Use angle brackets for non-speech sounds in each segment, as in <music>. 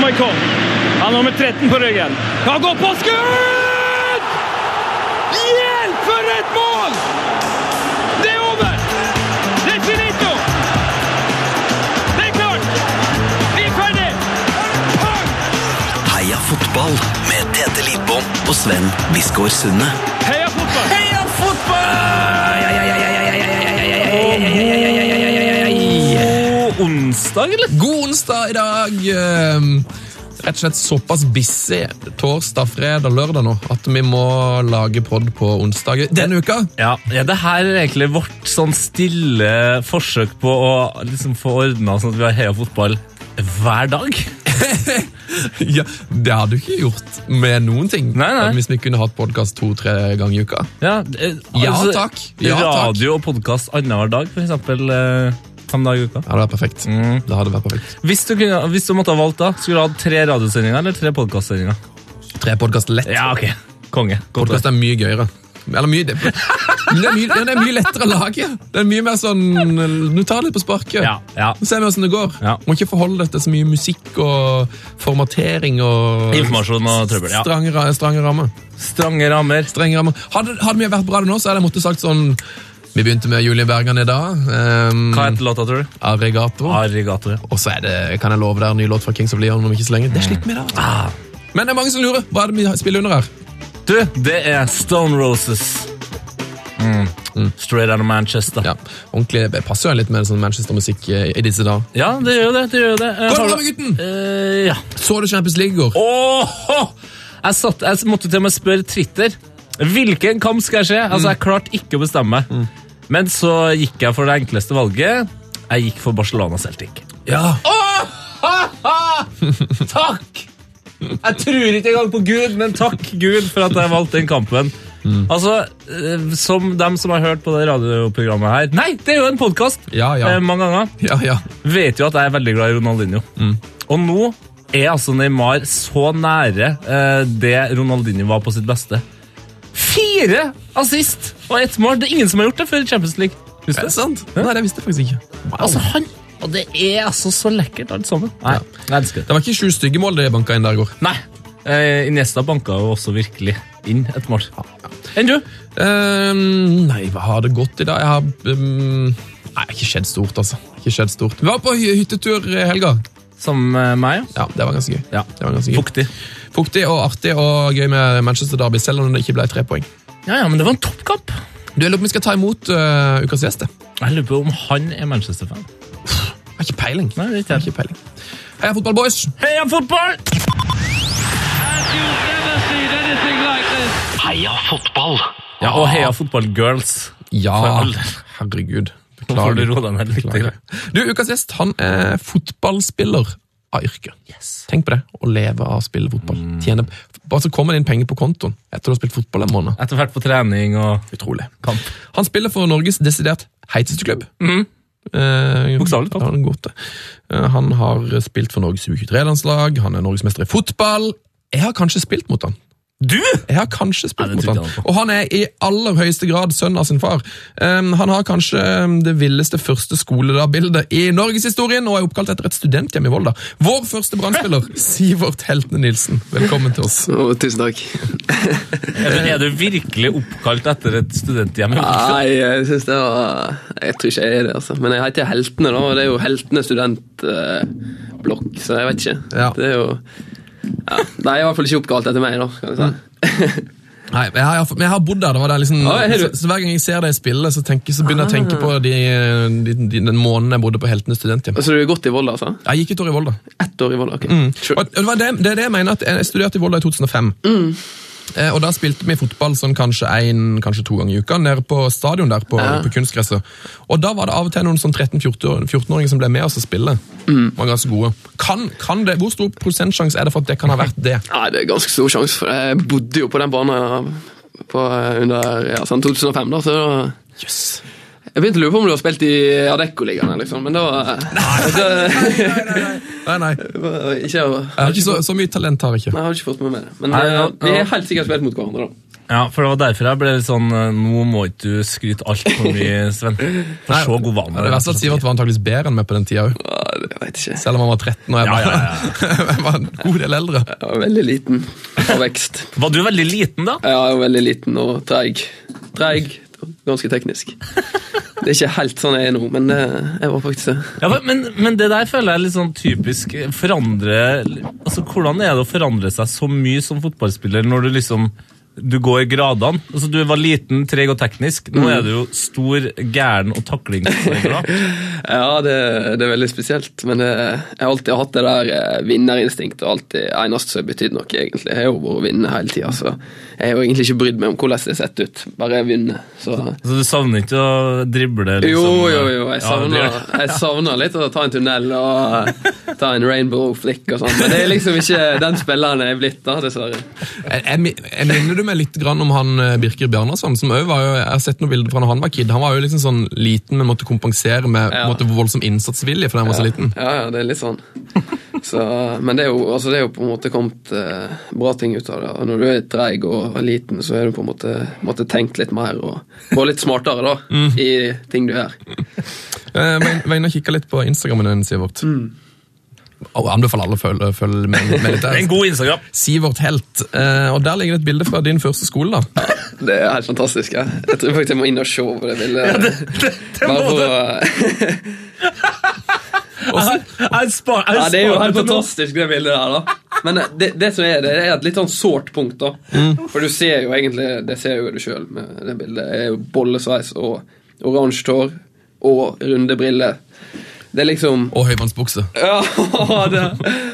Boikott. Han har nummer 13 på ryggen. Kan gå på skudd! Hjelp, for et mål! Det er over! Det er finito! Det er klart! Vi er ferdig! Heia fotball med Tete Lidbom og Sven Biskår Sunde. Heia fotball! Heia fotball! God onsdag, eller? God onsdag i dag! Ehm, Rett og slett såpass busy torsdag, fredag, lørdag nå at vi må lage pod på onsdag denne <laughs> uka. Ja, ja, det her er egentlig vårt sånn stille forsøk på å liksom få ordna sånn at vi har heia fotball hver dag. Ja, Det hadde du ikke gjort med noen ting Nei, nei. hvis vi kunne hatt podkast to-tre ganger i uka. Ja, eh, Ja, takk. Ja, takk. radio og podkast annenhver dag, for eksempel eh, fem dager i uka. Det hadde vært perfekt. Mm. Det hadde vært perfekt. Hvis du, kunne, hvis du måtte ha valgt, da, skulle du hatt tre radiosendinger eller tre podkastsendinger? Tre podkast lett. Ja, ok. Konge. Godt Podkast er mye gøyere. Eller mye <laughs> det, men det, er mye, det er mye lettere å lage. Det er mye mer sånn Du tar litt på sparket. Ja, ja. Så ser vi hvordan det går. Ja. Må ikke forholde deg til så mye musikk og formatering og Informasjon og trøbbel. ja. Strange, ra- strange rammer. Strange rammer. Strenge rammer. Hadde, hadde vi vært på radio nå, så hadde jeg måttet sagt sånn Vi begynte med Julie Bergan i dag. ehm, Hva heter låta, tror du? Arigato. Arigato. ja. Og så er det, kan jeg love deg en ny låt fra Kings of Leon om ikke så lenge. Det slipper vi da. vet du. Ah. Men det er mange som lurer. Hva er det vi spiller under her? Du, det er Stone Roses. Mm. Straight out of Manchester. Ja, ordentlig, Det passer jo litt med sånn Manchester-musikk eh, i disse dager. Ja, det gjør jo det. det, gjør jo det. Eh, Går det har bra du- med gutten? Eh, ja. Så du Champions League i går? Åhå! Jeg, satt, jeg måtte til og med spørre Twitter. Hvilken kamp skal jeg se? Altså, Jeg klarte ikke å bestemme meg. Men så gikk jeg for det enkleste valget. Jeg gikk for Barcelona Celtic. Ja. Takk! Jeg tror ikke engang på Gud, men takk Gud for at jeg valgte den kampen. Altså, eh, Som dem som har hørt på det radioprogrammet her Nei, det er jo en podkast! Ja, ja. Mange ganger. ja, ja. vet jo at jeg er veldig glad i Ronaldinho. Og nå er altså Neymar så nære eh, det Ronaldinho var på sitt beste. Fire assist og ett mål! Det er ingen som har gjort det før i Champions League. Er Husker det du? sant? Nei, det visste jeg faktisk ikke. Wow. Altså, han Og det er altså så lekkert, alt sammen. Nei, jeg elsker det. det var ikke sju stygge mål det banka inn der i går. Nei. Eh, Iniesta banka jo også virkelig inn et mål. Enn du? Ehm, nei, hva har det gått i dag? Jeg har ehm, Nei, ikke skjedd stort, altså. Ikke skjedd stort. Vi var på hy- hyttetur i helga. Sammen med eh, meg? Ja, det var ganske gøy. Ja. Det var ganske gøy. Fuktig. Fuktig og artig og gøy med Manchester Derby, selv om det ikke ble tre poeng. Ja, ja, men det var en toppkamp. Du, Jeg lurer på om vi skal ta imot øh, ukas gjest. jeg. Jeg lurer på om han er Manchester-fan. Jeg Har ikke peiling. Nei, det er ikke Ikke peiling. Heia fotballboys! Heia fotball! You've never seen anything like this. Heia fotball! Ja, og heia fotballgirls. Ja, For all del. herregud. Nå får du Beklager. roe deg ned litt. Beklager. Du, ukas gjest han er fotballspiller av yrke. Tenk på det, å leve av å spille fotball. Mm. Tjene, bare så kommer det inn penger på kontoen etter å ha spilt fotball en måned. Etter hvert på trening og Utrolig. kamp. Han spiller for Norges desidert heiteste klubb. Eh, Mm. Bokstavelig talt. ja, han, er god til. Eh, han har spilt for Norges U23-landslag, han er norgesmester i fotball. Jeg har kanskje spilt mot han. Du?! Jeg har kanskje spilt Nei, det mot trodde han. jeg Og han er i aller høyeste grad sønn av sin far. Um, han har kanskje um, det villeste første skoledag-bildet i norgeshistorien, og er oppkalt etter et studenthjem i Volda. Vår første brannspiller, Sivert Heltene Nilsen. Velkommen til oss. Å, tusen takk. Men er du virkelig oppkalt etter et studenthjem? Nei, jeg synes det var Jeg tror ikke jeg er det, altså. Men jeg heter Heltene, da. Og det er jo Heltene studentblokk, så jeg vet ikke. Ja. Det er jo ja, Det er i hvert fall ikke oppkalt etter meg, da. Kan vi si. Nei, jeg har, men jeg har bodd der. det var der liksom, Ja, har du- så, så Hver gang jeg ser deg spille, så, tenker, så begynner jeg å tenke på de, de, de, den måneden jeg bodde på Heltene studenthjem. Så du er godt i Volda, altså? Jeg gikk et år i Volda. Ett år i Volda, ok. Og Sure. Mm. og det, var det, det er det jeg mener at Jeg studerte i Volda i 2005. Eh, og Da spilte vi fotball sånn kanskje en, kanskje to ganger i uka nede på stadion der på, på kunstgresset. Og Da var det av og til noen sånn 13-14-åringer som ble med oss og spille. Mm. Var ganske gode. Kan, kan det, hvor stor prosentsjanse er det for at det kan ha vært det? Nei, det er ganske stor sjanse, for jeg bodde jo på den banen på, under ja, sånn 2005, da, så da Yes. jeg begynte å lure på om du har spilt i Adecco-ligaen, liksom, men da <laughs> Nei, nei. Ikke å Jeg har ikke så, så mye talent har jeg ikke. Nei, jeg har ikke fått med meg det. Men Nei, eh, ja, vi ja. har helt sikkert spilt mot hverandre, da. Ja, for det var derfor jeg ble litt sånn eh, Nå må ikke du skryte altfor mye, Sven. For så god Det vane. verste er at Sivert var antakeligvis bedre enn meg på den tida òg. Ja, jeg vet ikke. Selv om han var 13 og jeg, Ja, bare, ja, <laughs> jeg var en god del eldre. Jeg var veldig liten av vekst. Var du veldig liten, da? Jeg var jo veldig liten og treig. Treig. Ganske teknisk. Det er ikke helt sånn jeg er nå, men eh, jeg var faktisk det. Ja, men, men det der føler jeg er litt sånn typisk eh, forandre Altså, Hvordan er det å forandre seg så mye som fotballspiller når du liksom du går gradene? Altså, Du var liten, treg og teknisk. Nå er du jo stor, gæren og taklingsglad. Ja, det, det er veldig spesielt. Men eh, jeg har alltid hatt det der eh, vinnerinstinktet. og alltid eneste som har betydd noe, egentlig. Jeg har jo vært vinner hele tida, så jeg har jo egentlig ikke brydd meg om hvordan det har sett ut. Bare jeg vinner. Så Så du savner ikke å drible? Liksom, jo, jo, jo. Jeg Ja, savner, <laughs> det- jeg savner litt å ta en tunnel og eh, ta en rainbow flick og sånn. Men det er liksom ikke den spilleren jeg er blitt, da, dessverre. Jeg, jeg, mi- jeg minner du meg litt grann om han eh, Birker Bjarnason, som også var jo, jeg har sett noen bilder fra når han var kid. Han var jo liksom sånn liten, men måtte kompensere med Ja. måtte voldsom innsatsvilje fordi han var så liten. Ja, ja, det er litt sånn. Så, men det er, jo, altså det er jo på en måte kommet eh, bra ting ut av det. Og når du er treig og liten, så er du på en måte måtte tenkt litt mer og vært litt smartere da, Mm. i ting du gjør. Eh, var inn- var inne og kikka litt på Instagrammen din, Sivert. Mm. Og jeg anbefaler alle å følge, følge med, med <laughs> litt Det er en der. god Instagram. Sivert Helt. Eh, og der ligger det et bilde fra din første skole, da. Det er helt fantastisk. Ja. Jeg tror faktisk jeg må inn og se på det bildet. Bare må for du. å- Jeg spar, jeg ja, det er jo spar helt til nå. fantastisk, det bildet der. da. Men det, det som er det, det er et litt sånn sårt punkt, da. For du ser jo egentlig det ser jo du sjøl med det bildet. Det er jo bollesveis og oransje hår og runde briller. Det er liksom Og høyvannsbukse. <laughs> Ja, det.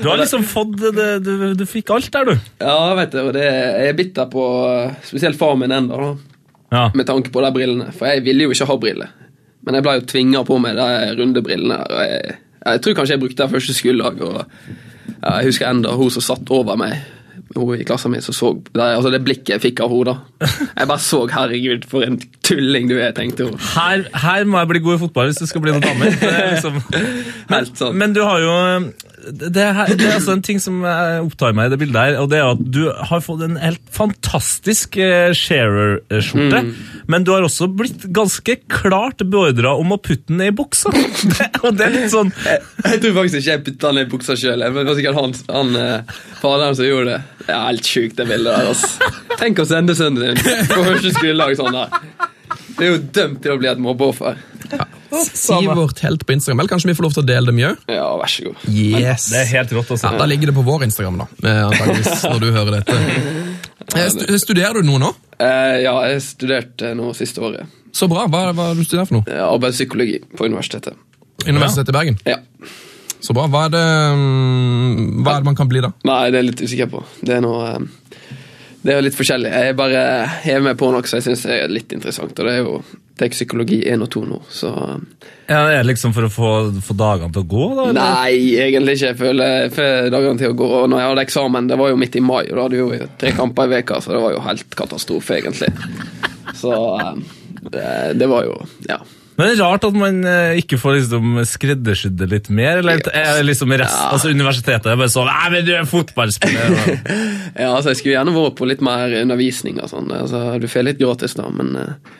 Du har liksom fått det, det, du, du fikk alt der, du. ja vet du, og det, jeg er bitter på eh, spesielt far min ennå, da, Ja. med tanke på de brillene. For jeg ville jo ikke ha briller. Men jeg ble jo tvinga på meg de runde brillene. her, Og jeg, jeg tror kanskje jeg brukte det første skoledag. Og ja, jeg husker enda hun som satt over meg, hun i klassen min, som så det, altså det blikket jeg fikk av henne. da. Jeg bare så 'herregud, for en tulling du er', tenkte hun. Her, her må jeg bli god i fotball hvis det skal bli noen damer. Det er Liksom. <laughs> Men, Helt sånn. sant. men du har jo det, er her, det er altså en ting som eh, opptar meg i det bildet her, og det er at du har fått en helt fantastisk eh, Sharer-skjorte, Mm. men du har også blitt ganske klart beordra om å putte den ned i buksa. <laughs> Det, og det er litt sånn Jeg, jeg tror faktisk ikke jeg putta den i buksa sjøl. Det var sikkert han, han eh, faderen som gjorde det. Det er helt sjukt, det bildet der. ass Tenk å sende sønnen din på første skoledag sånn der. Det er jo dømt til å bli et mobbeoffer. Sivert Helt på Instagram. Eller kanskje vi får lov til å dele det mye òg? Ja, vær så god. Yes. Det er helt rått, altså. Ja, da ligger det på vår Instagram, da. eh, Antageligvis, når du hører dette. Eh, stu- Studerer du noe nå? Eh, ja, jeg studerte nå siste året. Så bra. Hva, hva er det du studerer for noe? Eh, Arbeidspsykologi på universitetet. Universitetet i Bergen. Ja. Så bra. Hva er, det, mm, hva er det man kan bli, da? Nei, det er jeg litt usikker på. Det er noe eh, Det er jo litt forskjellig. Jeg bare hever meg på noe som jeg syns er litt interessant, og det er jo det er psykologi 1 og 2 nå, så Ja, det er liksom for å få, få dagene til å gå, da? eller? Nei, egentlig ikke. Jeg føler, jeg føler dagene til å gå. Og når jeg hadde eksamen, det var jo midt i mai, og da hadde vi jo tre kamper i veka, så det var jo helt katastrofe, egentlig. Så eh, det, det var jo Ja. Men det er rart at man eh, ikke får liksom skreddersydd det litt mer. Eller at- er liksom rest, altså Universitetet er bare sånn Nei, men du er fotballspiller. og- <laughs> ja altså, jeg skulle gjerne vært på litt mer undervisning og sånn. Altså, du får litt gratis, da, men eh,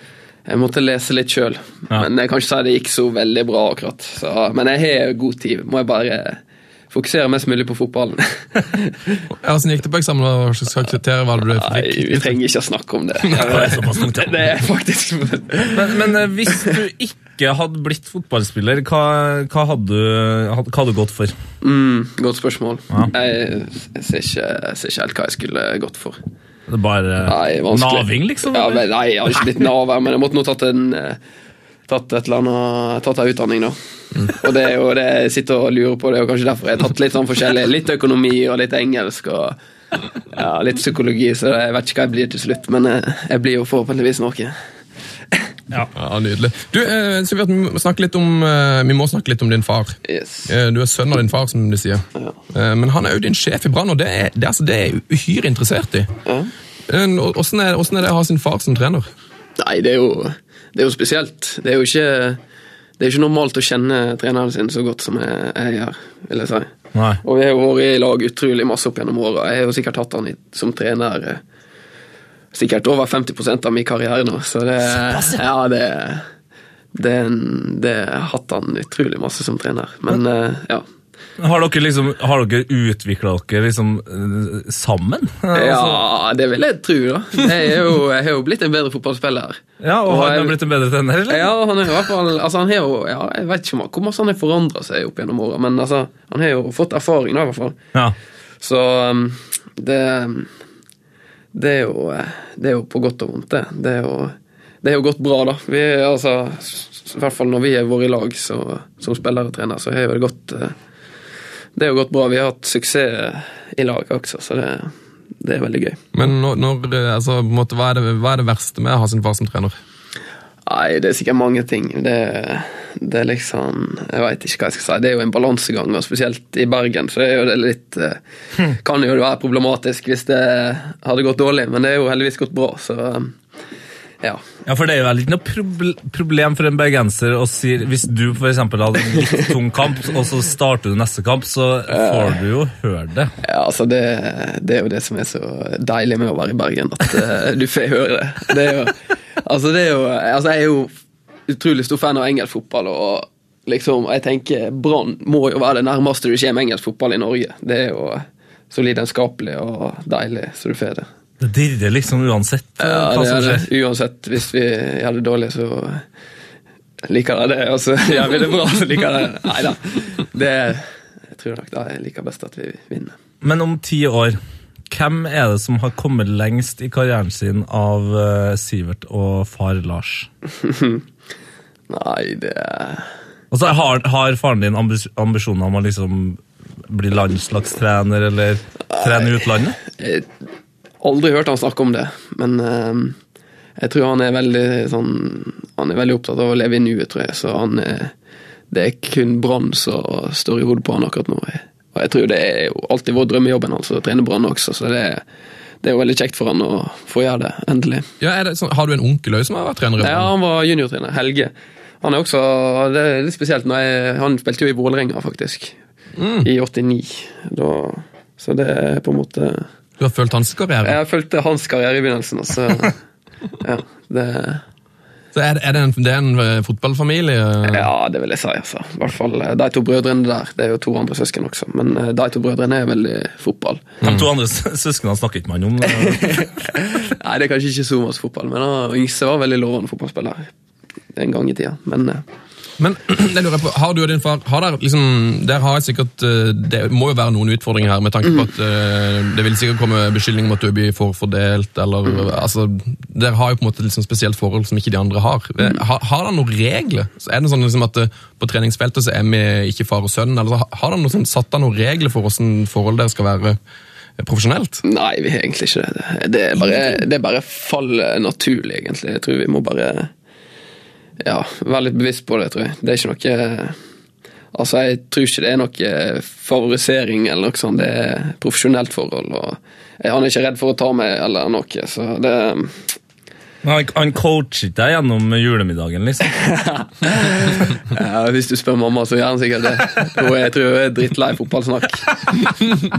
jeg måtte lese litt sjøl. Ja. Men jeg kan ikke si det gikk så veldig bra akkurat. Så, men jeg har god tid. Må jeg bare fokusere mest mulig på <laughs> fotballen. Ja, Hvordan gikk det på eksamen? Hva slags karakterer var det du Nei, fikk? vi trenger ikke å snakke <laughs> om det. det er såpass tungt, ja. <laughs> Det er faktisk <laughs> Men, men eh, hvis du ikke hadde blitt fotballspiller, hva, hva, hadde, du- had- hva hadde du gått for? Mm, godt spørsmål. Ja. Jeg, jeg, ser ikke, jeg ser ikke helt hva jeg skulle gått for. Det er Bare Nei, vanskelig. naving, liksom? Ja, eller? men, nei, jeg har ikke blitt naver, men jeg måtte nå tatt en eh, Tatt et eller annet Tatt en utdanning, da. Og det er jo det jeg sitter og lurer på, det er jo kanskje derfor jeg har tatt litt sånn forskjellig. Litt økonomi og litt engelsk og ja, litt psykologi, så jeg vet ikke hva jeg blir til slutt, men jeg, jeg blir jo forhåpentligvis noe. Ja, Nydelig. Du, eh, Sivert, vi må, snakke litt om, eh, vi må snakke litt om din far. Yes. Eh, du er sønn av din far, som de sier. Eh, men han er jo din sjef i Brann, og det er, det, er- altså, det er jeg uhyre interessert i. Eh, og- Hvordan er, hvordan er det å ha sin far som trener? Nei, det er jo, det er jo spesielt. Det er jo ikke, det er ikke normalt å kjenne treneren sin så godt som jeg, jeg gjør, vil jeg si. Nei. Og vi har jo vært i lag utrolig masse opp gjennom åra. Jeg har jo sikkert hatt han i, som trener eh, sikkert over 50 av min karriere nå, så det, ja, det, Det, er en- det har hatt han utrolig masse som trener. Men eh, ja. Har dere, liksom, har dere utvikla dere liksom eh, sammen? Eh, altså- Ja, det vil jeg tro, da. Jeg er jo, jeg er jo blitt en bedre fotballspiller. ja og har og jeg- dere blitt en bedre trener, eller? Ja, han er i hvert fall altså han har jo, ja, Jeg vet ikke om han- hvor masse han har forandra seg opp gjennom åra, men altså, han har jo fått erfaring, da, i hvert fall. Ja. Så um, det um, det er, jo, eh, det er jo på godt og vondt, det. Det er jo, det er jo gått bra, da. Vi, er altså, s- I hvert fall når vi har vært i lag så, som spiller og trener, så har jo det gått eh, Det er jo gått bra. Vi har hatt suksess i lag også, så det, det er veldig gøy. Men når, når, eh, altså, på en måte, hva, er det, hva er det verste med å ha sin far som trener? Nei, det er sikkert mange ting. Det, det er liksom Jeg veit ikke hva jeg skal si. Det er jo en balansegang, og spesielt i Bergen så er jo det litt eh, Kan jo være problematisk hvis det hadde gått dårlig, men det er jo heldigvis gått bra, så eh, ja. Ja, for det er jo vel ikke noe proble- problem for en bergenser å si Hvis du for eksempel hadde en litt tung kamp, og så starter du neste kamp, så får du jo høre det. ja altså det, det er jo det som er så deilig med å være i Bergen, at eh, du får høre det. det er jo, altså, det er jo Altså, jeg er jo utrolig stor fan av engelsk fotball, og liksom Jeg tenker Brann må jo være det nærmeste du kommer engelsk fotball i Norge. Det er jo så lidenskapelig og deilig, så du får det. Det dirrer liksom uansett eh, Ja, hva det som er skjer. det. Uansett, hvis vi gjør det dårlig, så liker jeg det. Og så <laughs> gjør vi det bra, så liker jeg det. Nei da. Det, jeg tror nok da jeg liker best at vi vinner. Men om ti år, hvem er det som har kommet lengst i karrieren sin av eh, Sivert og far Lars? Nei, det Altså, har, har faren din ambis ambisjoner om å liksom bli landslagstrener eller trene i utlandet? Jeg har Eh, aldri hørt han snakke om det, men eh, jeg tror han er veldig sånn Han er veldig opptatt av å leve i nuet, tror jeg, så han er Det er kun Brann som står i hodet på han akkurat nå. Og jeg tror det er jo alltid vår drømmejobben hans å trene Brann også, så det, det er jo veldig kjekt for han å få gjøre det, endelig. Ja, er det sånn, har du en onkel også som har vært trener? i Ja, Brann? han var juniortrener. Helge. Han er også Det er litt spesielt. Når jeg, han spilte jo i Vålerenga, faktisk. I 89. Da, så det er på en måte Du har følt hans karriere? Jeg fulgte hans karriere i begynnelsen, og så ja, det, Så er, det- er det, en, det er en eh, fotballfamilie? ja, det vil jeg si, altså. I hvert fall eh, de to brødrene der. Det er jo to andre søsken også, men eh, de to brødrene er veldig fotball. De to andre sø- søsknene snakker ikke man om. eh. Nei, det er kanskje ikke så mye fotball, men han Yngse var veldig lovende fotballspiller en gang i tida. Men eh, Men <clears throat> jeg lurer på, har du og din far har der, liksom, der har jeg sikkert eh, Det må jo være noen utfordringer her, med tanke Mm. på at eh, det vil sikkert komme beskyldninger om at du blir forfordelt, eller Mm. altså, Dere har jo på en måte liksom spesielt forhold som ikke de andre har. Mm. Eh, Har, har dere noen regler? Så er det sånn liksom at eh, På treningsfeltet så er vi ikke far og sønn. eller så har- Har dere noe sånn, satt deg noen regler for hvordan forhold dere skal være eh, profesjonelt? <laughs> Nei, vi har egentlig ikke det. Det er bare, det er bare faller naturlig, egentlig. Jeg tror vi må bare ja, være litt bevisst på det, tror jeg. Det er ikke noe Altså, jeg tror ikke det er noe favorisering eller noe sånt. Det er profesjonelt forhold. og jeg- Han er ikke redd for å ta meg eller noe, så det Men Han, han coacher ikke deg gjennom julemiddagen, liksom. ja, Hvis du spør mamma, så gjør han sikkert det. Og jeg tror jeg er drittlei fotballsnakk.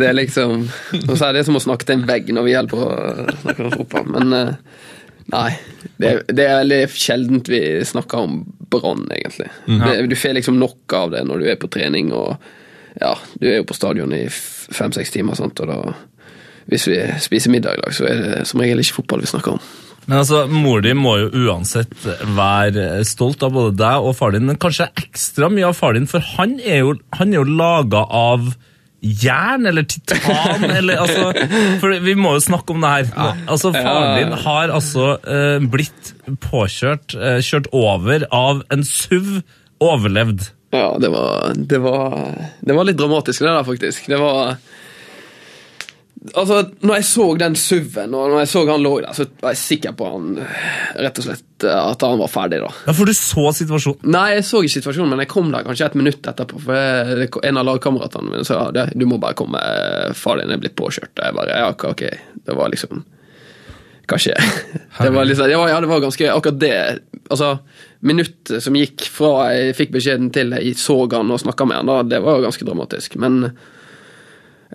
Det er liksom Nå sier jeg det er som å snakke til en vegg når vi holder på å snakke om fotball, men eh, Nei. Det er, det er veldig sjeldent vi snakker om brann, egentlig. Det, du får liksom nok av det når du er på trening, og ja, du er jo på stadion i f- fem-seks timer, sant, og da Hvis vi spiser middag i dag, så er det som regel ikke fotball vi snakker om. Men altså, mor di må jo uansett være stolt av både deg og far din, men kanskje ekstra mye av far din, for han er jo, han er jo laga av jern eller titan, eller altså For vi må jo snakke om det her. Altså, faren din har altså eh, blitt påkjørt, eh, kjørt over av en SUV, overlevd. Ja, det var, det var Det var litt dramatisk, det der, faktisk. Det var Altså, når jeg så den SUV-en, og når jeg så han lå der, så var jeg sikker på han Rett og slett at han var ferdig, da. Ja, for du så situasjonen. Nei, jeg så ikke situasjonen, men jeg kom der kanskje et minutt etterpå. For jeg, det- en av lagkameratene mine sa ja, det- du må bare komme, eh, far din er blitt påkjørt. Og jeg bare ja, ok, ok. Det var liksom Hva skjer? <laughs> Det var liksom, ja, ja, det var ganske akkurat det. Altså, minuttet som gikk fra jeg fikk beskjeden til jeg så han og snakka med han, da, det var jo ganske dramatisk. Men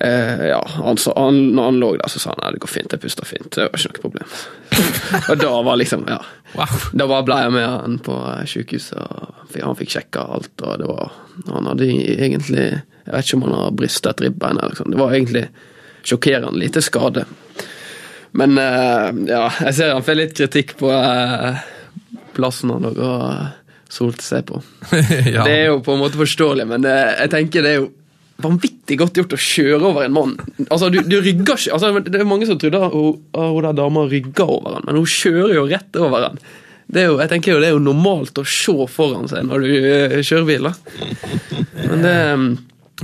Eh, ja, han, sa, han, når han lå der, så sa han nei, det går fint, jeg puster fint. Det var ikke noe problem. <laughs> og da var liksom, ja. Wow. Da bare ble jeg med han på eh, sykehuset, og f- han fikk sjekka alt. Og det var, han hadde egentlig Jeg vet ikke om han har bristet et ribbein. eller sånn. Det var egentlig sjokkerende lite skade. Men eh, ja, jeg ser han får litt kritikk på eh, plassen han lå og eh, solte seg på. ja. Det er jo på en måte forståelig, men det, jeg tenker det er jo vanvittig godt gjort å kjøre over en mann. Altså, du, du rygger ikke altså, Det er mange som trodde at hun, at hun der dama rygga over han, men hun kjører jo rett over han. Det er jo, jeg tenker jo, det er jo normalt å se foran seg når du eh, kjører bil. da. Men det eh,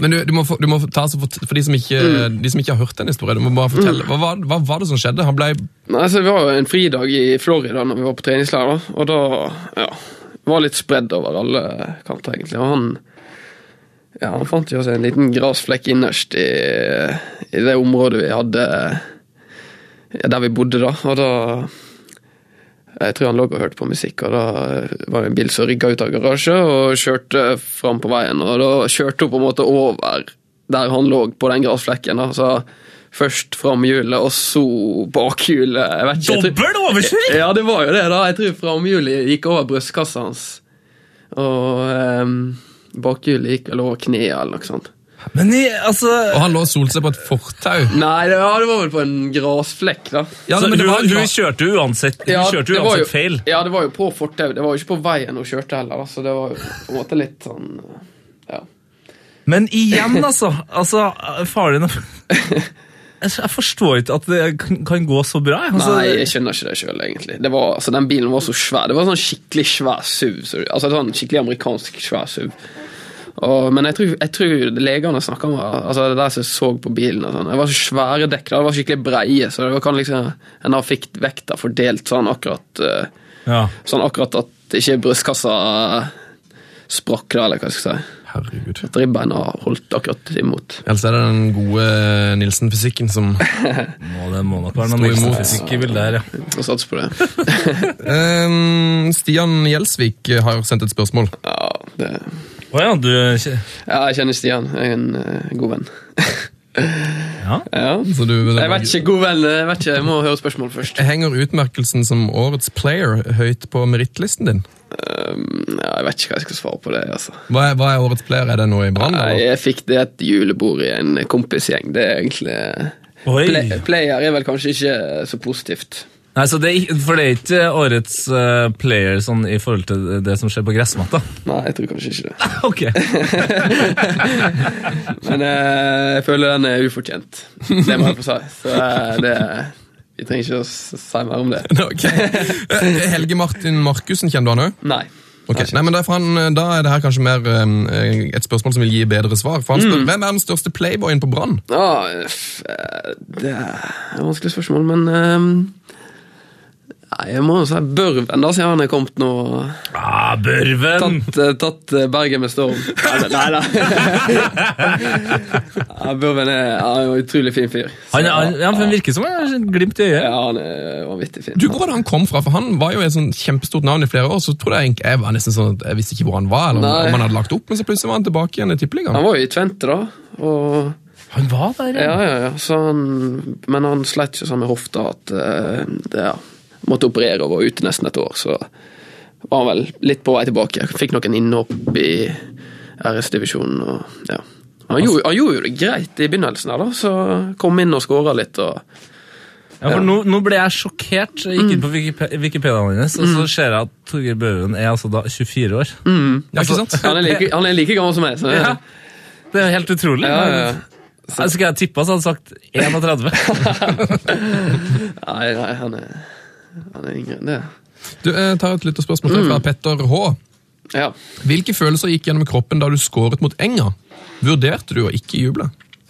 Men du, du, må, få- du må få ta så fort- For de som, ikke, Mm. de som ikke har hørt den historien, du må bare fortelle. Hva, var- hva var det som skjedde? Han ble Nei, altså, Vi var jo en fridag i Florida når vi var på treningsleir, da. og da ja, var litt spredd over alle kanter, egentlig. Og han, ja, han fant jo seg en liten grasflekk innerst i, i det området vi hadde ja, Der vi bodde, da. Og da Jeg tror han lå og hørte på musikk, og da var det en bil som rygga ut av garasje og kjørte fram på veien, og da kjørte hun på en måte over der han lå på den grasflekken. da, så Først framhjulet, og så bakhjulet. jeg vet ikke, jeg tror- Dobbel overkjøring! <laughs> ja, det var jo det, da. Jeg tror framhjulet gikk over brystkassa hans. Og ehm, bakhjulet gikk vel over kneet, eller noe sånt. Men i, altså Og han lå og solte seg på et fortau. Nei, det, ja, det var vel på en grasflekk, da. Ja, så men det var hun, en hun gra- kjørte jo uansett, hun kjørte det jo var uansett feil. Ja, det var jo på fortauet. Det var jo ikke på veien hun kjørte heller, da, så det var jo på en måte litt sånn ja. Men igjen, altså. altså Faren Altså, Jeg forstår ikke at det kan- kan gå så bra. jeg. Altså, Nei, jeg skjønner ikke det sjøl, egentlig. Det var, altså, den bilen var så svær. Det var sånn skikkelig svær SUV. Så, altså sånn skikkelig amerikansk svær SUV. Og, men jeg tror, jeg tror legene snakka om altså, det der som jeg så på bilen. Og sånn. det var så svære dekk. da. Det var skikkelig breie, så det var, kan liksom, en har fikk vekta fordelt sånn akkurat eh, ja. Sånn akkurat at ikke brystkassa eh, sprakk, da, eller hva skal jeg si. Herregud. At ribbeina holdt akkurat imot. Ellers er det den gode Nilsen-fysikken som Må, det må nok være noe Sto imot. Nilsen-fysikk i bildet her, ja. Og sats på det. <laughs> Ehm, Stian Gjelsvik har sendt et spørsmål. Ja, det Å ja, du Ja, jeg kjenner Stian. Jeg er en eh, god venn. <laughs> Ja. ja. Så du, Jeg vet ikke, god venn, jeg vet ikke, jeg må høre spørsmål først. Henger utmerkelsen som årets player høyt på merittlisten din? Um, ja, jeg vet ikke hva jeg skal svare på det, altså. Hva er, hva er årets player? Er det noe i Brann? Nei, eller? jeg fikk det et julebord i en kompisgjeng, det er egentlig... Oi. Play- Player er vel kanskje ikke så positivt. Nei, så det, er ikke- For det er ikke årets eh, player sånn, i forhold til det som skjer på gressmatta? Nei, jeg tror kanskje ikke det. <laughs> Ok. Men eh, jeg føler den er ufortjent, det må jeg få si. Så eh, det, vi trenger ikke å s- si mer om det. <laughs> Ok. Eh, Helge Martin Markussen, kjenner du han òg? Nei. Ok, Nei, men da er fra han- eh, Da er det her kanskje mer eh, et spørsmål som vil gi bedre svar. For han Mm. spør, Hvem er den største playboyen på Brann? Ah, f- eh, det er et vanskelig spørsmål, men... ehm, Nei, jeg må jo si Børven da, siden han er kommet nå Ah, Børven! <laughs> Tatt, eh, tatt eh, Bergen med storm. Nei, Nei da. <laughs> ja, Børven er ja, han er en utrolig fin fyr. Så- Han, han, ja, for han virker som en glimt i øyet. ja, han er vanvittig fin. Du, hvor var det han kom fra? For Han var jo et sånn kjempestort navn i flere år. Så trodde jeg egentlig- jeg var nesten sånn at jeg visste ikke hvor han var, eller om- Nei. om han hadde lagt opp, men så plutselig var han tilbake igjen i Han tippeligaen. var jo i Tvente, da. Og, Han var der, ja. ja, ja, ja, så han, men han slet jo sånn med hofta at eh, det, ja, måtte operere og var ute nesten et år. Så var han vel litt på vei tilbake. Fikk noen innhopp i RS-divisjonen. og ja. Han gjorde, han gjorde jo det greit i begynnelsen, her da, så kom inn og skåra litt. og Ja, for nå, nå ble jeg sjokkert. Jeg Mm. gikk inn på Wikipe- Wikipediaen hennes, og så ser jeg at Torgeir Børven er altså da 24 år. Mm. Ja, ikke sant? Han er like, han er sånn. like gammel som meg. Så, Ja. <laughs> Det er jo helt utrolig. Ja, ja, ja. Jeg skulle jeg tippa, så hadde jeg sagt <laughs> 31. Nei, nei, han er, han er yngre enn det. Du, jeg tar et lytterspørsmål Mm. til fra Petter H. Ja. Hvilke følelser gikk gjennom kroppen da du skåret mot Enga? Vurderte du å ikke juble?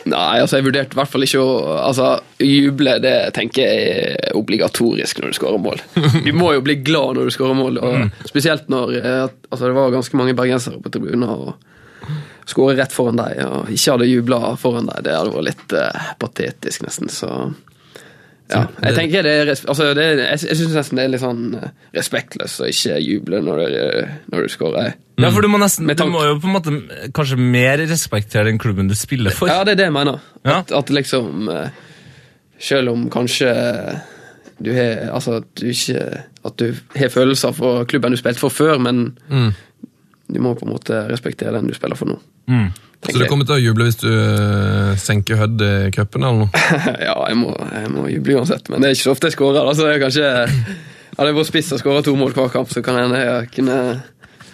Nei, altså jeg vurderte i hvert fall ikke å altså, Juble det tenker jeg er obligatorisk når du skårer <laughs> mål. Du må jo bli glad når du skårer mål, og spesielt når eh, at- altså, det var ganske mange bergensere på tribunen. og Skåre rett foran deg og ikke hadde jubla foran deg, det hadde vært litt eh, patetisk, nesten. Så Ja, jeg tenker det er, res- altså det er, jeg, jeg syns nesten det er litt sånn eh, respektløst å ikke juble når du, når du scorer. Ja, for du må nesten, Med du tanke- må jo på en måte eh, kanskje mer respektere den klubben du spiller for. <laughs> Ja, det er det jeg mener. Ja. At, at liksom eh, Selv om kanskje du har Altså at du ikke At du har følelser for klubben du spilte for før, men Mm. du må på en måte respektere den du spiller for nå. Mm. Så du kommer til å juble hvis du øh, senker Hødd i cupen eller noe? <laughs> ja, jeg må, jeg må juble uansett, men det er ikke så ofte jeg skårer. da, så det er kanskje Hadde jeg vært spiss og skåra to mål hver kamp, så kan jeg hende jeg kunne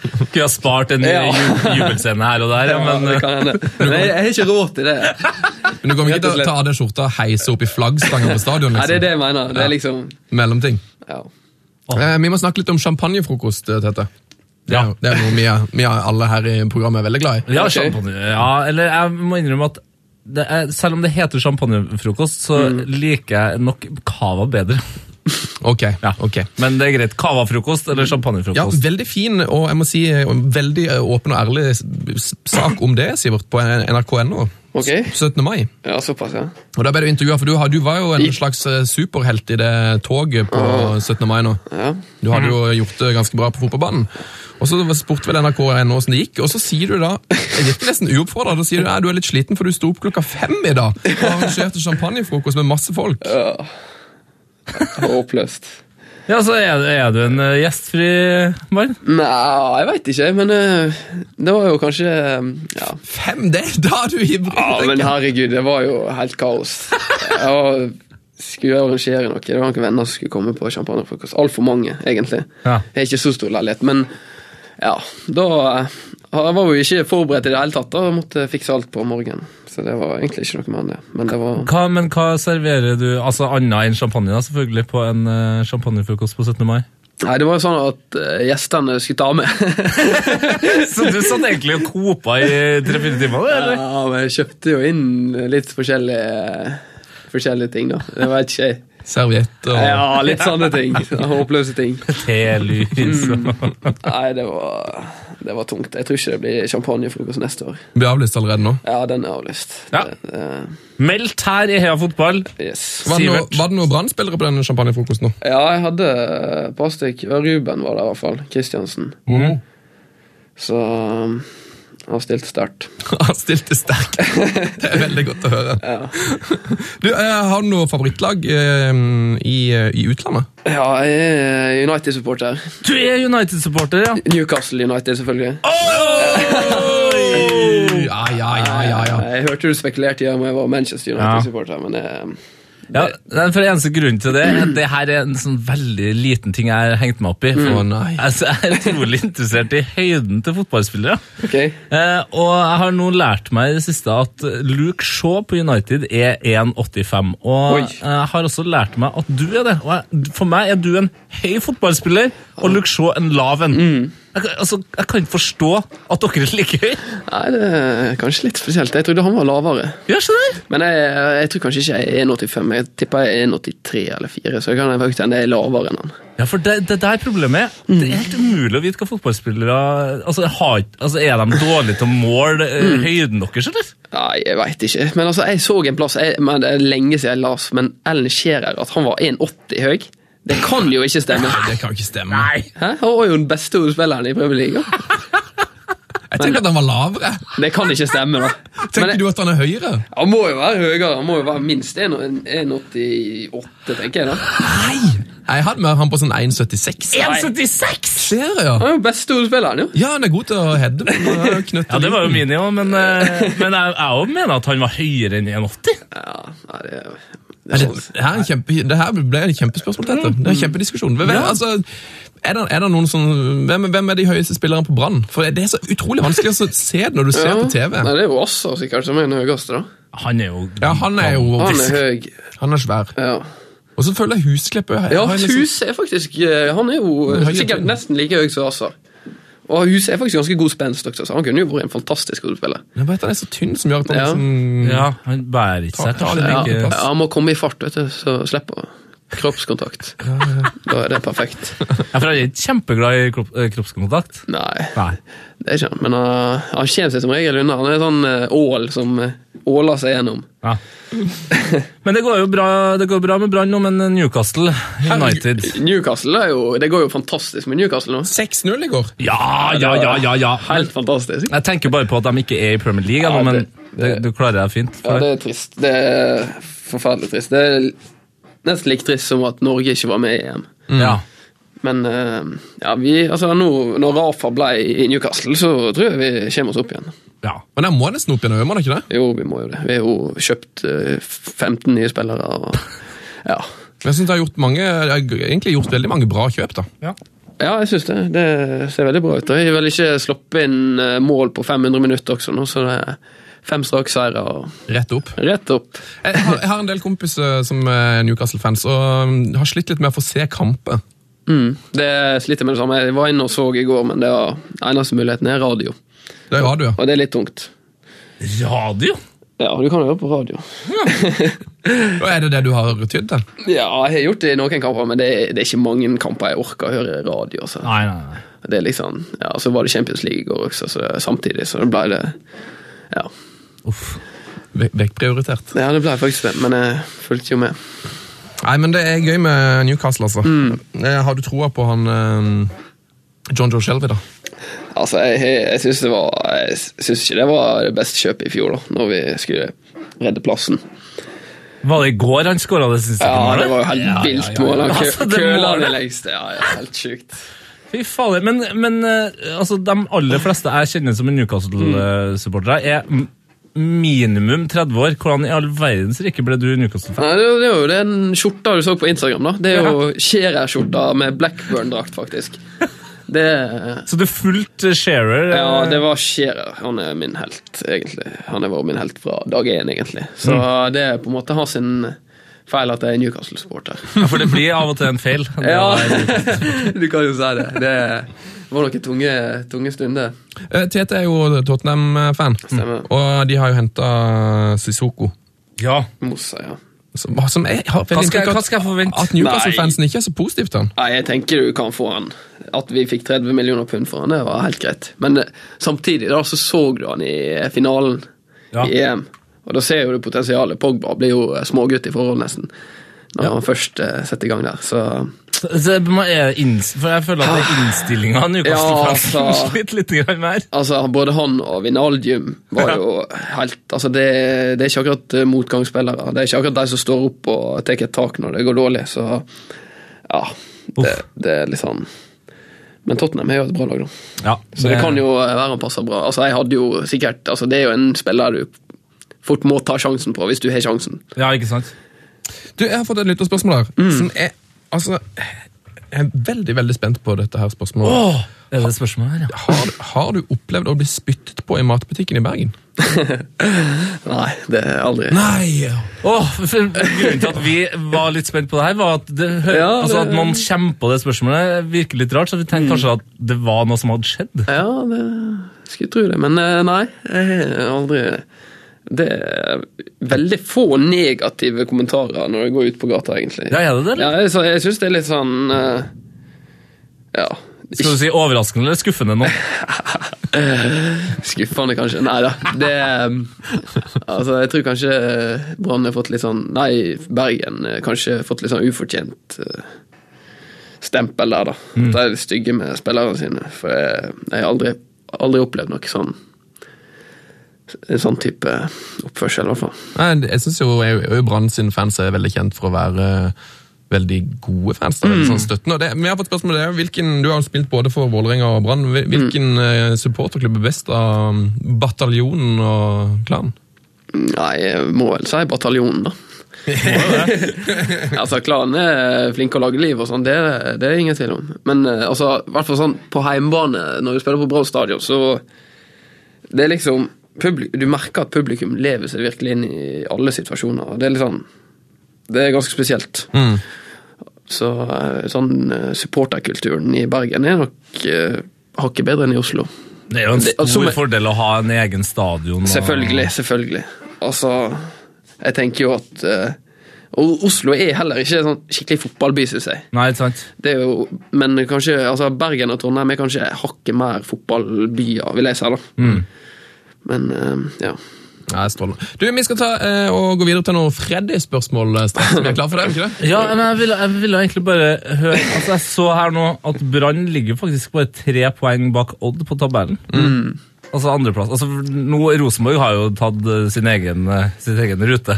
Kunne ha spart en Ja. ju- jubelscene her og der, ja, Ja, men det eh, <laughs> kan hende. Men jeg, jeg har ikke råd til det. Men du kommer ikke til å Rett og slett. ta av deg skjorta og heise opp i flaggstanger på stadion? Nei, det er liksom? det jeg mener. Det er liksom Mellomting. ja. Eh, vi må snakke litt om champagnefrokost, eh, Tete. Det er, Ja. jo- det er noe vi, er, vi er alle her i programmet er veldig glad i. ja, Ok. champagne. Ja, eller jeg må innrømme at det er, selv om det heter champagnefrokost, så Mm. liker jeg nok cava bedre. Ok, Ja. ok. Men det er greit. Cava-frokost eller Ja, champagnefrokost? veldig fin og jeg må si eh, veldig eh, åpen og ærlig s- s- sak om det, Sivert, på eh, nrk.no. Ok. S- 17. mai. ja, såpass, ja. Og da ble du intervjuet, for du, har- du var jo en slags eh, superhelt i det toget på 17. mai nå. ja. Du hadde jo gjort det ganske bra på fotballbanen. Og så spurte vel NRK nå hvordan det gikk, og så sier du da Jeg virker nesten uoppfordret. Da sier du «Nei, du er litt sliten, for du sto opp klokka fem i dag og arrangerte champagnefrokost med masse folk. Håpløst. Ja, så er, du- er du en eh, gjestfri mann? Nei, jeg veit ikke, men eh, det var jo kanskje eh, ja. Fem, det er da du er ivrig! <laughs> ja, men herregud, det var jo helt kaos. Jeg var, skulle arrangere noe, det var noen venner som skulle komme på champagnefrokost. Altfor mange, egentlig. Ja. Jeg har ikke så stor leilighet, men ja, da eh, jeg var jo ikke forberedt i det hele tatt. Da Jeg måtte fikse alt på morgenen. Så det var egentlig ikke noe mer enn det. Men det var Hva, men hva serverer du altså annet enn champagne da, selvfølgelig, på en eh, champagnefrokost på 17. mai? Nei, det var jo sånn at eh, gjestene skulle ta med. <laughs> Så du satt egentlig og kopa i tre-fire timer? det, eller? <laughs> Ja, men jeg kjøpte jo inn litt forskjellige, forskjellige ting, da. Det var ikke jeg. Serviett og Ja, litt sånne <laughs> ting. Sånne Håpløse ting. Telys og Nei, det var, det var tungt. Jeg tror ikke det blir champagnefrokost neste år. Blir avlyst allerede nå. Ja, den er avlyst. Ja. Det- det- Meldt her i Heia Fotball. yes. Var det noe, Sivert. var det noe Brann-spillere på den champagnefrokosten nå? Ja, jeg hadde eh, et par stykk. Ja, Ruben var der i hvert fall. Kristiansen. Så um, han stilte sterkt. <laughs> Han stilte sterkt. Det er veldig godt å høre. Du, eh, Har du noe favorittlag eh, i, i utlandet? Ja, jeg er United-supporter. Du er United-supporter, ja. Newcastle United, selvfølgelig. Ja, ja, ja, ja, ja. Jeg hørte du spekulerte i om jeg var Manchester United-supporter, men eh, jeg, ja nei, for eneste grunnen til det er at det her er en sånn veldig liten ting jeg har hengt meg opp i. For Å, nei. altså, jeg er utrolig interessert i høyden til fotballspillere. ok. Eh, og jeg har nå lært meg i det siste at Luke Shaw på United er 1,85. Og Oi. jeg har også lært meg at du er det. Og jeg, for meg er du en høy fotballspiller, og Luke Shaw en lav en. Jeg, kan- altså, jeg kan ikke forstå at dere er like høye. Nei, det er kanskje litt spesielt. Jeg trodde han var lavere. Gjør ikke det? Men jeg, jeg tror kanskje ikke jeg er 1,85. Jeg tipper jeg er 1,83 eller 4, så jeg kan faktisk hende jeg er lavere enn han. Ja, for det, det der problemet er Det er helt umulig å vite hva fotballspillere Altså, har, ikke- altså Er de dårlige til å måle eh, høyden deres, eller? Nei, jeg veit ikke. Men altså, jeg så en plass jeg, men Det er lenge siden jeg las, men Ellen Scherer, at han var 1,80 høy. Det kan jo ikke stemme. Det kan jo ikke stemme. Hæ? Han var jo den beste hovedspilleren i Premier League. Jeg tenker at han var lavere. Det kan ikke stemme, da. Tenker Men jeg, du at han er høyere? han må jo være høyere. Han må jo være minst 1,88, tenker jeg da. Nei! Jeg hadde med han på sånn 1,76. 1,76! Ser jeg, ja. Han er jo beste hovedspilleren, jo. Ja, han er god til å heade. men han er jo knøtteliten. Ja, det var jo min, ja, men, eh, men jeg, jeg også mener at han var høyere enn 1,80. Ja, nei, det er Men det, det, her er en kjempe, det her ble et kjempespørsmål, Tete. Det er Mm. en kjempediskusjon. Hvem, er- altså, er det, er det noen sånn, hvem, hvem er de høyeste spillerne på Brann? For Det er så utrolig vanskelig å se det når du ser på TV. Nei, det er jo Assa sikkert som er den høyeste, da. Han er jo Ja, han er jo Han er høy. Han er svær. Ja, Og så føler jeg Husklepp er- ja har en liksom- Hus er faktisk eh, Han er jo eh, Høy, sikkert tror jeg. nesten like høy som Assa. Og Hus er faktisk ganske god spenst også, så han kunne jo vært en fantastisk skuespiller. Nei, bare at Han er så tynn som gjør at han Ja. liksom Ja, Mm. han bærer ikke seg. Ta- ta kanskje. litt Ja, Ja. like- ja, plass. han må komme i fart, vet du, så slipper han kroppskontakt. Da er det perfekt. Ja, for han er ikke kjempeglad i kropp, eh, kroppskontakt. Nei, Nei. det er ikke han. Men eh, han kommer seg som regel unna. Han er en sånn eh, ål som eh, åla seg gjennom. <laughs> Ja. Men det går jo bra, det går bra med Brann nå, men Newcastle United Newcastle er jo, det går jo fantastisk med Newcastle nå. 6-0 i går. Ja, ja, ja, ja, ja. Helt fantastisk. Jeg tenker bare på at de ikke er i Premier League, Ja, ennå, men det- det, du klarer deg fint. Ja, det er trist. Det er forferdelig trist. Det er nesten like trist som at Norge ikke var med i EM. Ja. Men eh, ja, vi, altså nå, når Rafa ble i Newcastle, så tror jeg vi kommer oss opp igjen. ja. Men der må nesten opp igjen, gjør man ikke det? Jo, vi må jo det. Vi har jo kjøpt eh, 15 nye spillere. Og, ja. Jeg synes jeg har gjort mange, jeg har egentlig gjort veldig mange bra kjøp, da. ja, jeg syns det. Det ser veldig bra ut. Og jeg har vel ikke sluppet inn eh, mål på 500 minutter også nå, så det er fem strakseiere og Rett opp. rett opp. Jeg har, jeg har en del kompiser som er Newcastle-fans, og mm, har slitt litt med å få se kamper. Mm. Det sliter jeg med det samme. Jeg var inne og så i går, men det var eneste muligheten er radio. Det er radio. Og det er litt tungt. Radio? Ja, du kan jo høre på radio. Og er det det du har tydd til? Ja, jeg har gjort det i noen kamper, men det er, det er ikke mange kamper jeg orker å høre radio. Altså. Nei, nei, nei. Det er liksom, ja, Så var det Champions League i går også, så samtidig, så det ble det Ja, Uff. Ve- Vekkprioritert. ja det ble faktisk det, men jeg fulgte jo med. Nei, men det er gøy med Newcastle, altså. Mm. Eh, Har du troa på han eh, John Joe Shelby, da? Altså, Jeg, jeg, jeg syns det var Jeg synes ikke det var det beste kjøpet i fjor, da når vi skulle redde plassen. Var det i går han skåra det siste Ja, målet? Det var jo helt vilt mål. Han <laughs> kø- Altså, det køla målet. det lengste. Ja, ja, helt sjukt. Fy fader, men, men eh, altså, de aller fleste jeg kjenner som er Newcastle-supportere, er m- minimum 30 år. Hvordan i all verdens rike ble du Newcastle-fan? Nei, det, er jo- det er jo den skjorta du så på Instagram. da Det er jo Shearer-skjorta med Blackburn-drakt, faktisk. Det er Så du fulgte Shearer? eh, Ja, det var Shearer. Han er min helt, egentlig. Han har vært min helt fra dag én, egentlig. Så det er på en måte har sin feil at jeg er Newcastle-supporter. eh, For det blir av og til en feil. Det <laughs> Ja, var- du kan jo si det. Det var noen tunge, tunge stunder. Eh, Tete er jo Tottenham-fan, Mm. Stemmer. og de har jo henta Sissoko. ja. Mossa, ja. Som, som jeg har Hva, skal, inntrykk av hva at- skal jeg forvente? At Newcastle-fansen ikke er så positive til han. Nei, jeg tenker du kan få han. At vi fikk 30 millioner pund for han, det var helt greit. Men eh, samtidig da, så så du han i eh, finalen Ja. i EM. Og da ser jo du potensialet. Pogba blir jo eh, smågutt i forhold, nesten. Når han først eh, setter i gang der. Så Så- så må jeg inns- For jeg føler at det er innstillinga Newcastle-fansen Ja, altså. sliter litt grann med her. Altså, både han og Vinaldium var jo helt Altså, det, det er ikke akkurat eh, motgangsspillere. Det er ikke akkurat de som står opp og tar et tak når det går dårlig, så Ja. Det, Uff. det er litt sånn Men Tottenham er jo et bra lag, da. Ja, Så det kan jo være han passer bra. Altså, jeg hadde jo sikkert Altså, det er jo en spiller du fort må ta sjansen på, hvis du har sjansen. Ja, ikke sant? Du, Jeg har fått et lytterspørsmål her. Mm. Som er, altså, jeg er veldig veldig spent på dette her spørsmålet. Åh, er det spørsmålet her, ja? Har, har du opplevd å bli spyttet på i matbutikken i Bergen? Nei, det er aldri Nei! Åh, for grunnen til at vi var litt spent på det her, var at, det, hø- Ja, altså det- at man kommer på det spørsmålet, virker litt rart, så vi tenkte kanskje at det var noe som hadde skjedd. Ja, det skulle jeg tro det, men eh, nei. Jeg har aldri Det er veldig få negative kommentarer når jeg går ut på gata, egentlig. Ja, er det det? eller? Ja, jeg, så jeg syns det er litt sånn eh, Ja. Skal du si overraskende eller skuffende nå? Skuffende, kanskje. Nei da. Det eh, Altså, jeg tror kanskje eh, Brann har fått litt sånn Nei, Bergen eh, kanskje fått litt sånn ufortjent eh, stempel der, da. At de er stygge med spillerne sine. For jeg, jeg har aldri, aldri opplevd noe sånn en sånn type oppførsel, i hvert fall. Nei, Jeg syns jo jeg- jeg- Brann sine fans er veldig kjent for å være eh, veldig gode fans. Da, veldig sånn støttende. Og det, vi har fått spørsmål om det. Hvilken, du har jo spilt både for Vålerenga og Brann. Hvil- Hvilken eh, supporterklubb er best av mm, bataljonen og klanen? Nei, jeg må vel si bataljonen, da. altså, klanen er flinke å lage liv og sånn, det, er- det er ingen tvil om. Men eh, altså, i hvert fall sånn på heimbane, når du spiller på Brann stadion, så Det er liksom publi- Du merker at publikum lever seg virkelig inn i alle situasjoner. og Det er litt sånn Det er ganske spesielt. Så eh, sånn eh, supporterkulturen i Bergen er nok eh, hakket bedre enn i Oslo. Det er jo en Det- altså, stor men- fordel å ha en egen stadion. og- Selvfølgelig, selvfølgelig. Altså, jeg tenker jo at eh, og Oslo er heller ikke en sånn skikkelig fotballby, syns jeg. Nei, ikke sant? Det er jo, men kanskje, altså Bergen og Trondheim er Mm. kanskje hakket mer fotballbyer, vil jeg si. da. Men eh, ja. Nei, strålende. Du, Vi skal ta eh, og gå videre til noen Freddy-spørsmål. eh, straks. Vi er klar for det, <laughs> er vi ikke det? Ja, men jeg ville, jeg ville egentlig bare høre Altså, Jeg så her nå at Brann ligger faktisk bare tre poeng bak Odd på tabellen. Mm. Altså andreplass. Altså, nå, Rosenborg har jo tatt eh, sin egen, eh, sin egen rute.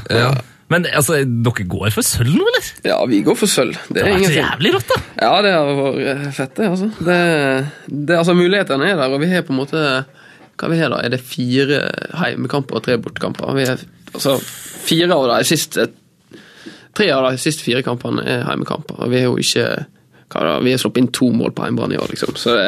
Men altså, dere går for sølv nå, eller? Ja, vi går for sølv. Det Det er er så ingenting. jævlig rått, da! Ja, det har vært eh, fett, det, altså. Det, det, altså mulighetene er der, og vi har på en måte Hva vi har da? Er det fire heimekamper og tre bortekamper? Vi er, altså, fire av de siste Tre av de siste fire kampene er heimekamper, og vi har jo ikke hva da, Vi har sluppet inn to mål på hjemmebane i år, liksom, så det,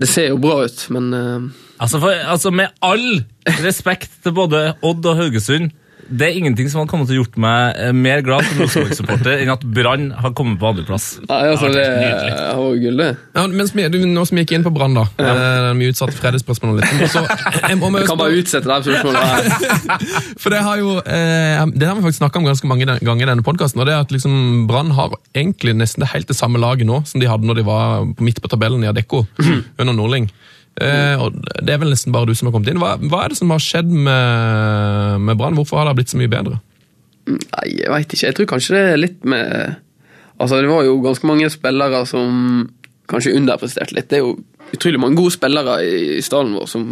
det ser jo bra ut, men eh, Altså, for, altså, Med all respekt til både Odd og Haugesund det er ingenting som har kommet til å gjort meg eh, mer glad som Rosenborg-supporter enn at Brann har kommet på andreplass. Nei, altså, det helt var gull, det. Ja, mens vi, du, nå som vi gikk inn på Brann, da. eh, Vi utsatte Freddy-spørsmålet litt. men Så, jeg må- må jeg Kan spørre- bare utsette det her spørsmålet. her. For det har jo eh, Det har vi faktisk snakka om ganske mange den- ganger i denne podkasten. Og det er at liksom Brann har egentlig nesten det helt det samme laget nå som de hadde når de var på midt på tabellen i Adecco under Nordling. Eh, og Det er vel nesten bare du som har kommet inn. Hva, hva er det som har skjedd med, med Brann? Hvorfor har det blitt så mye bedre? Nei, jeg veit ikke. Jeg tror kanskje det er litt med Altså, det var jo ganske mange spillere som kanskje underpresterte litt. Det er jo utrolig mange gode spillere i i stallen vår som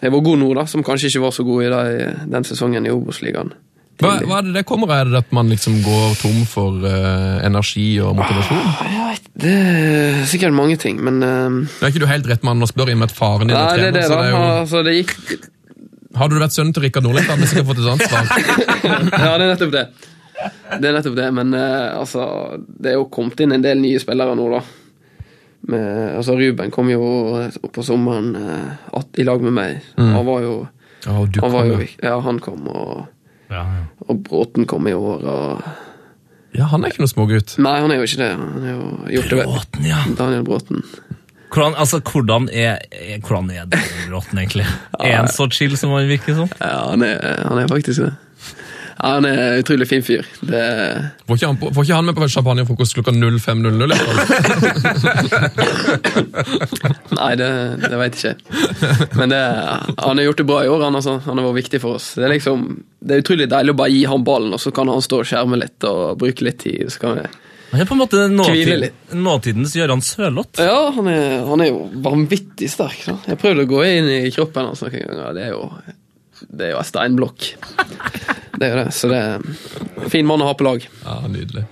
har vært gode nå, da. Som kanskje ikke var så gode i de- den sesongen i Obos-ligaen. Hva, hva er det det kommer av? Er det at man liksom går tom for eh, energi og motivasjon? Ah, Jeg vet, det er sikkert mange ting, men ehm, Det er ikke du helt rett mann å spørre i og med at faren din Nei, er trener. det er det, så da. det er jo, Altså, det gikk hadde du vært sønnen til Rikard Nordling, hadde du sikkert fått et annet svar. Ja, det er nettopp det. Det er nettopp det, men eh, altså Det er jo kommet inn en del nye spillere nå, da. Med, altså Ruben kom jo opp på sommeren eh, at, i lag med meg. Han var jo Å, du <laughs> han, var kom, jo, ja. ja, han Mm. kom, og, Ja, ja. og Bråten kom i år, og ja, han er ikke noe smågutt. Nei, han er jo ikke det. Han er jo gjort det vel. Bråten, ja. Daniel Bråten. Hvordan, altså, hvordan er, er- hvordan er Daniel Bråten <laughs> egentlig? Er han så chill som han virker som? Ja, han er, Eh, han er faktisk det. Ja, han er en utrolig fin fyr. Det, Får ikke, han, på- får ikke han med på champagnefrokost klokka 05.00? i hvert fall? nei, det, det veit jeg ikke. Men det, han har gjort det bra i år. Han, altså, han har vært viktig for oss. Det er liksom, det er utrolig deilig å bare gi han ballen, og så kan han stå og skjerme litt og bruke litt tid. Så kan vi... Han er på en måte Hvile nåtid, litt. nåtidens Gøran Sørloth. Ja, han er, han er jo vanvittig sterk. Da. Jeg prøvde å gå inn i kroppen hans noen ganger. Det er jo Det er jo en steinblokk. Det er jo det. Så det er en fin mann å ha på lag. Ja, Nydelig.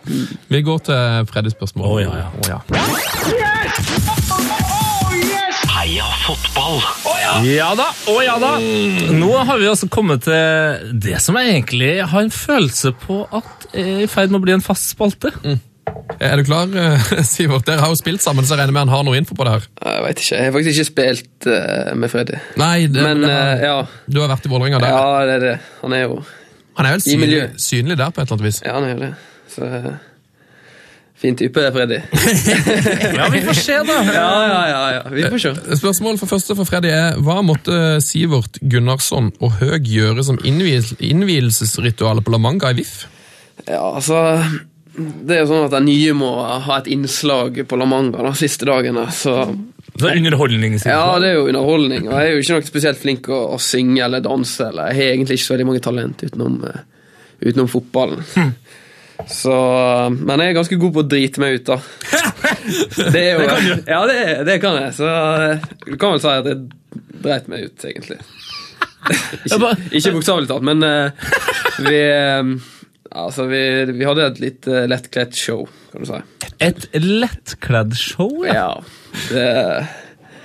Vi går til Freddys spørsmål. Å, ja, ja. Å, ja. Heia fotball! Ja da, å ja da! Nå har vi altså kommet til det som jeg egentlig har en følelse på at er i ferd med å bli en fast spalte. Er du klar, eh, <laughs> Sivert? Dere har jo spilt sammen, så jeg regner med han har noe info på det her. Jeg veit ikke. Jeg har faktisk ikke spilt eh, med Freddy. Nei, det, Men det har, eh, ja, Du har vært i Vålerenga der. ja, det er det. Han er jo Han er vel synlig, miljø. synlig der på et eller annet vis. Ja, han er jo det. Så eh, Fin type, det, Freddy. <laughs> Ja, vi får se, da. <laughs> Ja, ja, ja. ja. Vi får se. Spørsmålet for første for Freddy er hva måtte eh, Sivert Gunnarsson og Høg gjøre som innvies, innvielsesritualet på La Manga i VIF? Ja, altså Det er jo sånn at de nye må ha et innslag på La Manga da, siste dagen. da, Så Så underholdning, sier Ja, du. det er jo underholdning. Og jeg er jo ikke noe spesielt flink å, å synge eller danse. Eller jeg har egentlig ikke så veldig mange talent utenom, eh, utenom fotballen. <laughs> Så, men jeg er ganske god på å drite meg ut, <laughs> da. Det, er jo, kan du. Ja, det, det kan jeg. Så eh, du kan vel si at jeg dreit meg ut, <laughs> egentlig. Jeg Ikke, bare- ikke bokstavelig talt, men eh, vi, eh, altså, vi, vi hadde et litt eh, lettkledd show, kan du si. Et lettkledd show, ja. <laughs> Ja, det...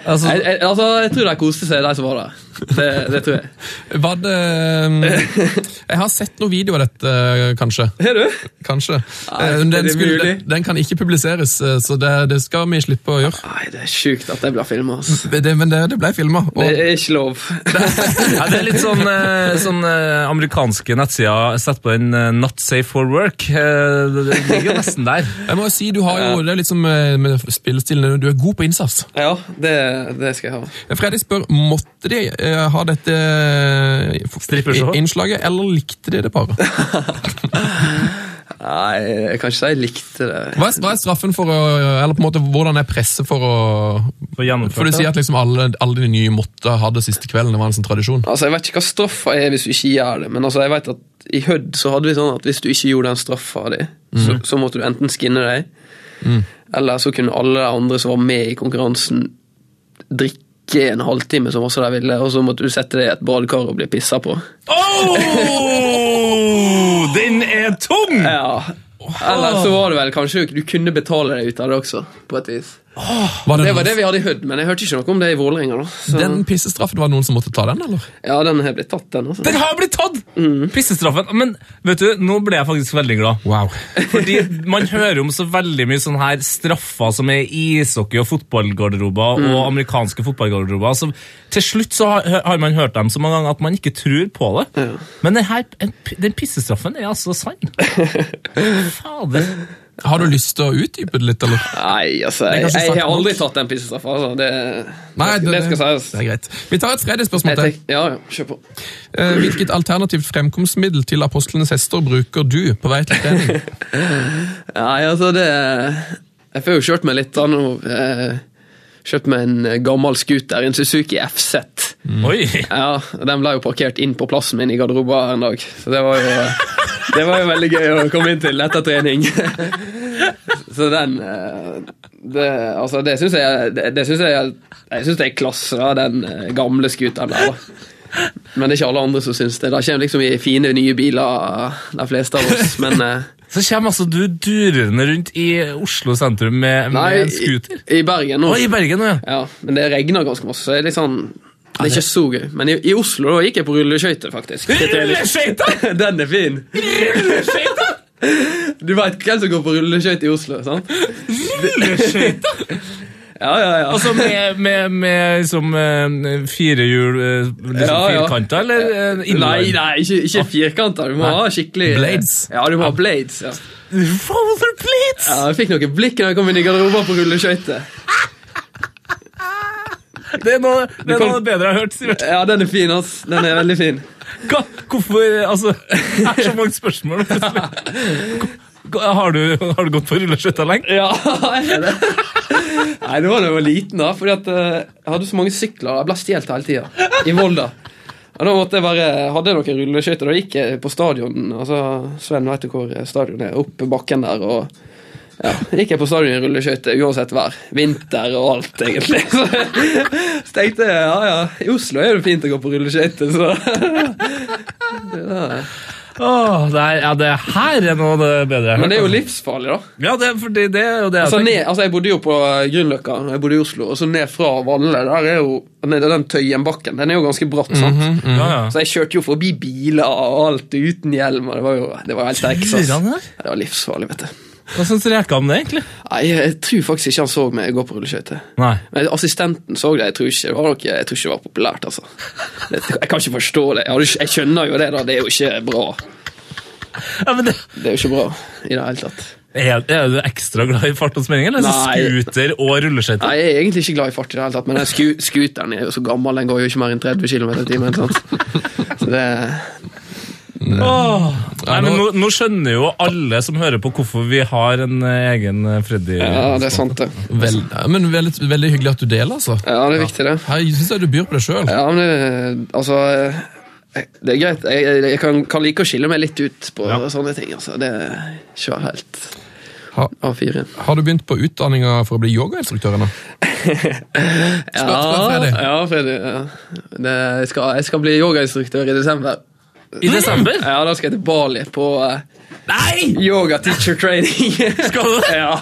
Altså, Jeg, jeg, altså, jeg tror de koste seg, de som var der. Det, det tror <laughs> jeg. Var det <laughs> um, Jeg har sett noen video av dette, eh, kanskje. Har du? Kanskje. Nei, Eh, er den, det skulle, mulig? den, den kan ikke publiseres, eh, så det, det skal vi slippe å gjøre. Nei, det er sjukt at jeg blir filma. Det Det, men det, det ble filma. er ikke lov. <laughs> ja, det er litt sånn, eh, sånn eh, amerikanske nettsider Sett på en eh, Not safe for work. Eh, Det det ligger jo nesten der. Jeg må jo si, du har jo, det er litt som eh, med spillestilen, du er god på innsats. <laughs> Ja, det, det skal jeg ha. Fredrik spør, måtte de eh, ha dette eh, Strippershow? i- innslaget, eller likte de det bare? Nei, jeg kan ikke si jeg likte det. Hva er, hva er straffen for å Eller på en måte, hvordan er presset for å For å gjennomføre For du det. sier at liksom alle, alle de nye måtte ha det siste kvelden. Det var en sånn tradisjon. Altså, Jeg vet ikke hva straffa er hvis du ikke gjør det, men altså, jeg vet at i Hødd så hadde vi sånn at hvis du ikke gjorde den straffa di, så, så måtte du enten skinne deg, Mm. eller så kunne alle de andre som var med i konkurransen, drikke en halvtime som også de ville, og så måtte du sette deg i et badekar og bli pissa på. Åh, den er tung! Ja. Eller så var det vel kanskje du, du kunne betale deg ut av det også, på et vis. Var det Det var noen, det vi hadde i Hødd, men jeg hørte ikke noe om det i Vålerenga. da. Så, den pissestraffen, var det noen som måtte ta den, eller? ja, den har blitt tatt, den. altså. Den har blitt tatt! Pissestraffen. Men vet du, nå ble jeg faktisk veldig glad. Mm. Wow. Fordi man hører om så veldig mye sånn her straffer som er i ishockey- og fotballgarderober Mm. og amerikanske fotballgarderober. Så til slutt så har, har man hørt dem så mange ganger at man ikke tror på det. Men den, her, en- den pissestraffen er altså <laughs> sann. Fader. Har du lyst til å utdype det litt, eller? Nei, altså, jeg, kanskje jeg, sagt har aldri tatt den pissestraffa. Altså. Det, det, skal sies. Det er greit. Vi tar et tredje spørsmål Jeg til. tenk, ja, ja, kjør på. Eh, Hvilket alternativt fremkomstmiddel til apostlenes hester bruker du på vei til <laughs> trening? Nei, altså, det Jeg får jo kjørt meg litt da nå. eh, Kjøpt meg en eh, gammel scooter, en Suzuki FZ. Mm. Oi! Ja, Den ble jo parkert inn på plassen min i garderoben en dag. Så det var jo <laughs> Det var jo veldig gøy å komme inn til etter trening. <laughs> Så den eh, Det, altså, det syns jeg det, det synes jeg, jeg synes det er klasse, da, den eh, gamle scooteren der. da. Men det er ikke alle andre som syns det. Da kommer liksom i fine, nye biler, eh, de fleste av oss. Men eh, <laughs> Så kommer altså du durende rundt i Oslo sentrum med, med en scooter. i, i Bergen nå. Å, i Bergen, ja. Ja, men det regner ganske masse, så det er litt sånn det er ikke så gøy, men i, i Oslo da gikk jeg på rulleskøyter, faktisk. Rulleskøyta! <laughs> Den er fin! Rulleskøyta! Du veit hvem som går på rulleskøyter i Oslo, sant? Rulleskøyta! Ja, ja, ja. Altså med, med, med liksom, eh, fire hjul eh, liksom Ja, ja. firkanter, eller eh, Nei, nei, ikke, ikke Ah. firkanter. Du må ha skikkelig Blades. Ja, du må ha blades. Ja. Roller plates! ja, Jeg fikk noen blikk da jeg kom inn i garderoben på rulleskøyter. Det er noe, det er kan- noe av det bedre jeg har hørt, Sivert. Ja, den er fin, ass. Den er veldig fin. Hva, hvorfor eh, Altså, det er så mange <laughs> spørsmål. Hva- Har du, har du gått på rulleskøyter lenge? Ja, er det? Nei, det var da jeg var liten, da. Fordi at eh, jeg hadde så mange sykler. og Jeg ble stjålet hele tida. I Volda. Og da måtte jeg bare, hadde jeg noen rulleskøyter. Da gikk jeg på stadion. Altså, Sven vet jo hvor stadion er. Opp bakken der. og ja, gikk jeg på stadion i rulleskøyter uansett vær. Vinter og alt, egentlig. Så, så tenkte jeg ja, ja, i Oslo er det fint å gå på rulleskøyter, så Åh, det er, ja, det her er noe av det bedre jeg har Men det hørt. er jo altså. livsfarlig, da. Ja, det, er fordi det er jo det jeg Altså, tenker. ned, altså, jeg bodde jo på eh, Grünerløkka, når jeg bodde i Oslo, og så ned fra Valle. Der er jo ned, den Tøyenbakken. Den er jo ganske bratt, sant? Ja, Mhm, ja. Så jeg kjørte jo forbi biler og alt uten hjelm, og det var jo det var helt Texas. Turer han der? Ja, Det var livsfarlig, vet du. Hva syns Reka om det, egentlig? Nei, jeg, jeg tror faktisk ikke han så meg gå på rulleskøyter. Nei. Men assistenten så det, jeg tror ikke det var, noe, jeg tror ikke det var populært, altså. Jeg, jeg kan ikke forstå det. Jeg, har ikke- jeg skjønner jo det, da. Det er jo ikke bra. Ja, men det... Det er jo ikke bra i det hele tatt. Er, er du ekstra glad i fart og spenning, eller? Så Nei. Scooter og rulleskøyter? Nei, Jeg er egentlig ikke glad i fart i det hele tatt, men den sku scooteren er jo så gammel, den går jo ikke mer enn 30 km i timen. sant? Så det, Åh. Nei, Ja, men nå, nå- nå skjønner jo alle som hører på, hvorfor vi har en eh, egen eh, Freddy. ja, det er sant, det. Vel, ja, men veldig, veldig hyggelig at du deler, altså. Ja, det er viktig, det. Her synes jeg du byr på deg sjøl. Ja, men det, altså jeg- Det er greit. Jeg, jeg- jeg kan, kan like å skille meg litt ut på sånne ting. altså. Det er ikke helt Ha- A4. Har du begynt på utdanninga for å bli yogainstruktør ennå? spør Freddy. ja, Freddy. Ja. Det, jeg, skal, jeg skal bli yogainstruktør i desember. I desember? Ja, Da skal jeg til Bali på eh, Nei! yoga teacher training. Skal du det? <laughs> ja.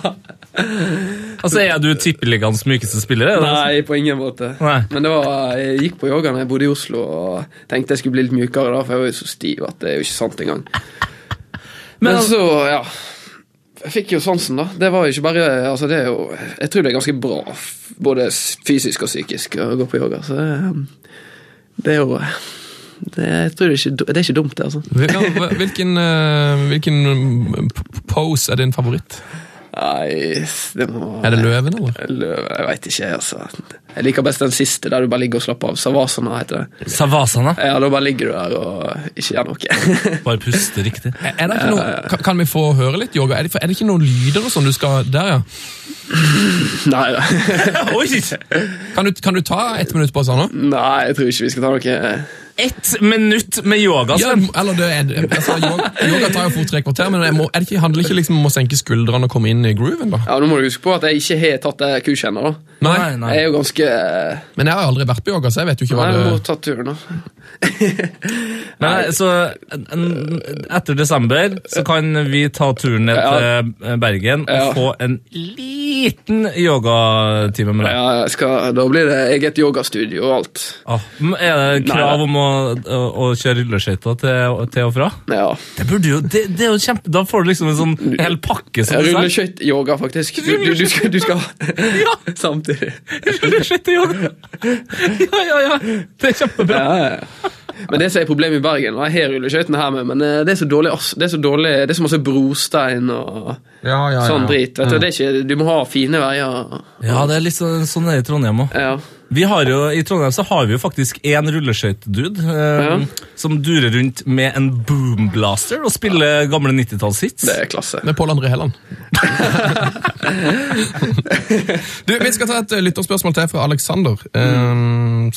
Altså, Er du tippeligaens mykeste spiller? er det det? Nei, på ingen måte. Nei. Men det var, jeg gikk på yoga da jeg bodde i Oslo og tenkte jeg skulle bli litt mjukere, da, for jeg var jo så stiv at det er jo ikke sant engang. Men, Men altså, så, ja Jeg fikk jo sansen, da. Det var jo ikke bare altså det er jo, Jeg tror det er ganske bra, f- både s- fysisk og psykisk, å gå på yoga. Så det, um, det er jo det, jeg tror det, er ikke, du- det er ikke <laughs> dumt, det, altså. mm, Hvilken, eh, hvilken pose er din favoritt? Nei, det må Er det løven, eller? Løv, jeg veit ikke, altså. Jeg liker best den siste, der du bare ligger og slapper av. Savasana heter det. Savasana. Ja, da bare ligger du der og ikke gjør noe. <laughs> Bare puste riktig. Er det ikke noe, kan- Eh, kan vi få høre litt yoga? Er det, er det ikke noen lyder og sånn du skal Der, ja. Nei da. Oi! Kan du, kan du ta ett minutt på oss her nå? Nei, jeg tror ikke vi skal ta noe Ett minutt med yoga, Altså, Ja, Sven. eller det er, <laughs> altså, yoga, yoga tar jo fort tre kvarter, men jeg må, er det ikke, handler ikke liksom om å senke skuldrene og komme inn i grooven? da? Ja, Nå må du huske på at jeg ikke har tatt det kurset ennå. da. Nei, nei. Jeg er jo ganske eh, Men jeg har aldri vært på yoga, så jeg vet jo ikke Nei, hva jeg må det ta turen, da. Nei, eh, så en- en- etter desember så kan vi ta turen ned Ja. til eh, Bergen Ja. og få en liten yogatime med deg. <laughs> Ja, jeg skal, da blir det eget yogastudio og alt. Ah, men er det krav om å, å, å kjøre rulleskøyter til, til og fra? Ja. Det burde jo, det, det er jo kjempe... Da får du liksom en sånn en hel pakke som dessert. Rulleskøyt-yoga, faktisk. Du, du, du skal, du skal <laughs> Ja, <laughs> Samtidig. rulleskøyteyoga! Ja, ja, ja. Det er kjempebra. Ja, ja, ja. Men det som er problemet i Bergen, og jeg har rulleskøytene her med, men eh, det er så dårlig, ass- det er så dårlig, det er så masse brostein og ja, ja, Mm. sånn drit. Vet du, det er ikke, du må ha fine veier. Ja, det er litt sånn, sånn er det i Trondheim òg. Ja. Vi har jo, I Trondheim så har vi jo faktisk én rulleskøytedude eh, Ja. som durer rundt med en boomblaster og spiller gamle 90-tallshits. Det er klasse. Med Pål André <laughs> Helland. du, vi skal ta et eh, lytterspørsmål til fra Alexander, eh,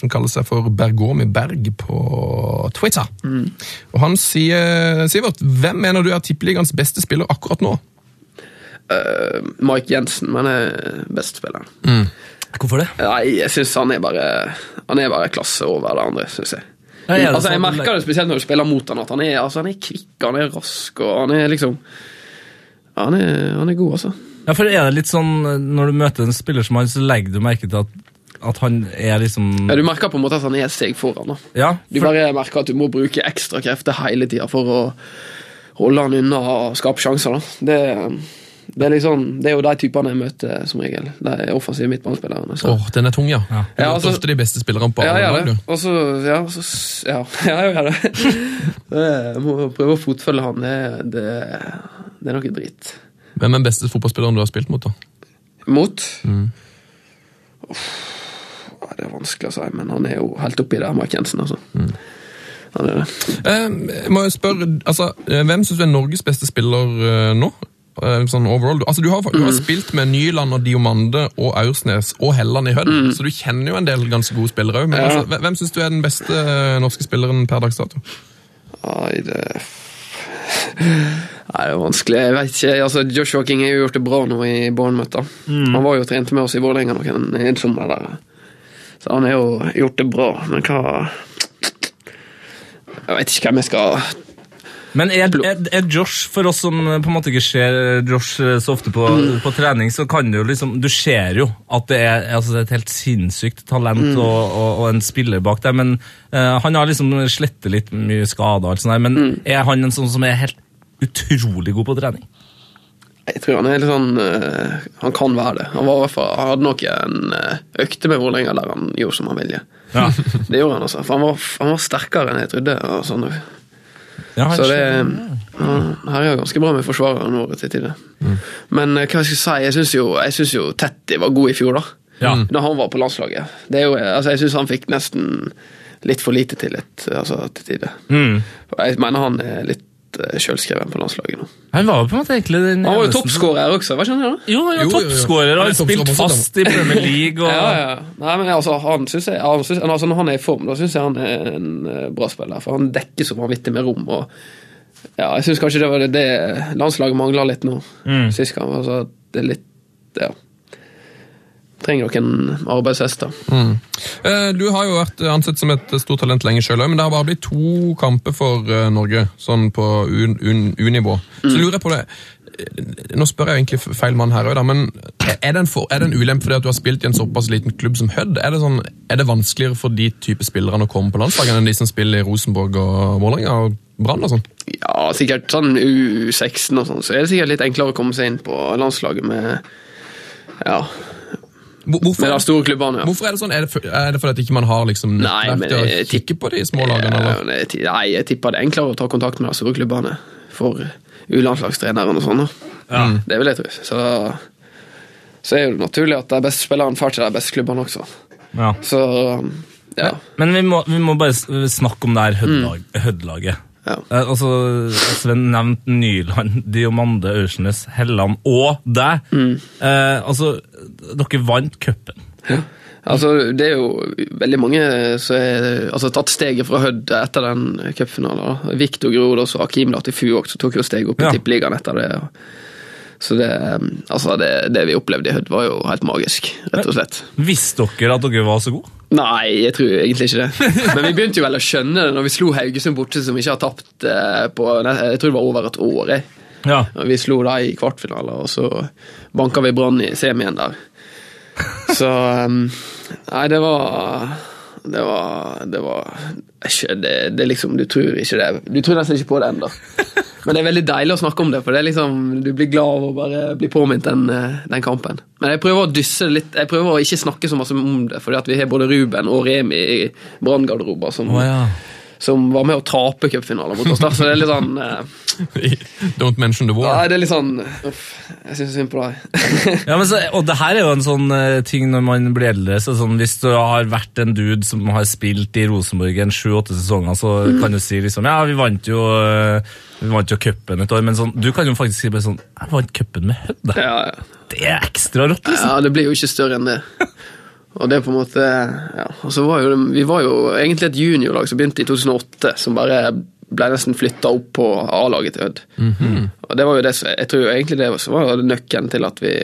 som kaller seg for Bergomi Berg på Twitter. Mm. Og han sier Sivert, hvem mener du er tippeligaens beste spiller akkurat nå? Eh, Mike Jensen, men er best spiller. Hvorfor det? Nei, jeg syns han er bare Han er bare klasse over det andre, syns jeg. Ja, er det altså, jeg sånn? merker det spesielt når du spiller mot han at han er, altså, han er kvikk, han er rask, og han er liksom Han er, han er god, altså. Ja, for er det litt sånn, eh, Når du møter en spiller som han, så legger du merke til at, at han er liksom Ja, du merker på en måte at han er et steg foran. da. Ja, Du bare merker at du må bruke ekstra krefter hele tida for å holde han unna og skape sjanser. da. Det, det, er liksom, det er jo de typene jeg møter eh, som regel. De offensive midtbanespillerne. Åh, så- den er tung, ja. Du møter Ja, altså- ofte de beste spillerne på Ja, alle jeg lag, gjør du. det. Og så, ja, så, s- ja, <laughs> ja, jeg <laughs> gjør det. det. Jeg må prøve å fotfølge han. Det, det, det er noe dritt. Hvem er den beste fotballspilleren du har spilt mot, da? Mot? Mm. Uff, ja, det er vanskelig å si, men han er jo helt oppi der, Mark Jensen, altså. Mm. Han er det. Eh, jeg må jo spørre, altså, eh, Hvem syns du er Norges beste spiller eh, nå? Eh, Sånn overall. Altså, du har, du har spilt med Nyland og Diomande og Aursnes og Helland i Hødd, så du kjenner jo en del ganske gode spillere òg. Men Ja. altså, hve- hvem syns du er den beste eh, norske spilleren per dags dato? Nei, det Nei, det er vanskelig. Jeg vet ikke. Altså, Joshua King har jo gjort det bra nå i Bournemouth. da. Han var jo og trente med oss i Vålerenga noen en sommer der. Så han har jo gjort det bra, men hva Jeg vet ikke hvem jeg skal Men er, er, er Josh, for oss som eh, på en måte ikke ser Josh eh, så ofte på, på trening, så kan du jo liksom Du ser jo at det er altså, det er et helt sinnssykt talent og, og, og en spiller bak der, men eh, han har liksom slettet litt mye skader og alt sånt der, men er han en sånn som er helt utrolig god på trening? Jeg tror han er litt sånn eh, Han kan være det. Han, var i hvert fall, han hadde nok en eh, økte med Vålerenga der han gjorde som han ville. Ja, Det gjorde han, altså. For han var, han var sterkere enn jeg trodde. Og sånn. <laughs> ja Så det han, Her er jo ganske bra med forsvarerne våre til tider. Men eh, hva skal jeg si, jeg syns jo, jeg synes jo Tetti var god i fjor, da. Ja. Da han var på landslaget. Det er jo, altså, jeg syns han fikk nesten litt for lite tillit altså, til tider. Mm. Og Jeg mener han er litt eh, sjølskreven på landslaget nå. Han var jo på en måte egentlig den Han var jo eneste- toppskårer også, var ikke han det? da? Jo, han var Jo, jo, jo. toppskårer og Han er har spilt toppskårer også, da. fast i Premier League. Og, <laughs> Ja, ja. Nei, men altså, han synes jeg, han synes, altså, når han er i form, da syns jeg han er en eh, bra spiller. For han dekker så vanvittig med rom. Og, ja, jeg syns kanskje det var det, det landslaget mangla litt nå. Mm. Sist gang. Altså, det er litt Ja. Trenger noen arbeidshester. Eh, Du har jo vært ansett som et stort talent lenge sjøl òg, men det har bare blitt to kamper for eh, Norge, sånn på U- U- U-nivå. Så Mm. lurer jeg på det Eh, Nå spør jeg egentlig f- feil mann her òg, da, men er det, en for, er det en ulempe fordi at du har spilt i en såpass liten klubb som Hødd? Er det, sånn, er det vanskeligere for de type spillerne å komme på landslaget enn de som spiller i Rosenborg og Vålerenga og Brann og sånn? Ja, sikkert sånn U16 og sånn, så er det sikkert litt enklere å komme seg inn på landslaget med Ja, Hvor- Hvorfor, med de store klubbene. ja. hvorfor er det sånn? Er det, for, er det fordi at ikke man har liksom Nei, men nettverk til å jeg kikke på de små lagene? Ja, Eller? men jeg ti- Nei, jeg tipper det er enklere å ta kontakt med de store klubbene for U-landslagstreneren og sånn. da. Det vil jeg tro. Så, så er jo det naturlig at de beste spillerne drar til de beste klubbene også. Ja. Så ja. Men vi må, vi må bare s- eh, snakke om det her Hødd-lag- Hødd-laget. Mm. Ja. Eh, altså, Sven nevnte Nyland, <laughs> Diomande, Aursnes, Helland og deg. Mm. Eh, altså, dere vant cupen. Altså, det er jo veldig mange som har altså, tatt steget fra Hødd etter den cupfinalen. da. Viktor Grodås og Akim Latifu også tok jo steget opp i Ja. Tippeligaen etter det. og- Så det, um, altså, det, det vi opplevde i Hødd, var jo helt magisk, rett og slett. Visste dere at dere var så gode? Nei, jeg tror egentlig ikke det. Men vi begynte jo vel å skjønne det når vi slo Haugesund borte, som ikke har tapt eh, på Jeg tror det var over et år. jeg. Ja. Og Vi slo dem i kvartfinaler, og så banka vi Brann i semien der. Så um, Nei, det var Det var Det var ikke, det, det er liksom, Du tror ikke det. Du tror nesten ikke på det ennå. Men det er veldig deilig å snakke om det, for det er liksom, du blir glad av å bare bli påminnet den, eh, den kampen. Men jeg prøver å dysse det litt. Jeg prøver å ikke snakke så masse om det, fordi at vi har både Ruben og Remi i Brann-garderober som, Å, ja. som var med å tape cupfinalen mot oss. der, Så det er litt sånn <laughs> eh, Don't mention the war. Nei, det er litt sånn Uff, jeg syns synd på deg. Ja, men så, og det her er jo en sånn eh, ting når man blir eldre. Så sånn, hvis du har vært en dude som har spilt i Rosenborg en sju-åtte sesonger, så Mm. kan du si liksom Ja, vi vant jo eh, Vi vant jo cupen et år, men sånn, du kan jo faktisk si bare sånn Jeg vant cupen med Hødd. da. ja, ja. Det er ekstra rått, liksom. ja, det blir jo ikke større enn det. Og det er på en måte ja. Og så var jo, det- Vi var jo egentlig et juniorlag som begynte i 2008, som bare ble nesten flytta opp på A-laget til Hødd. Og det var jo det som Jeg tror jo egentlig det som var nøkkelen til at vi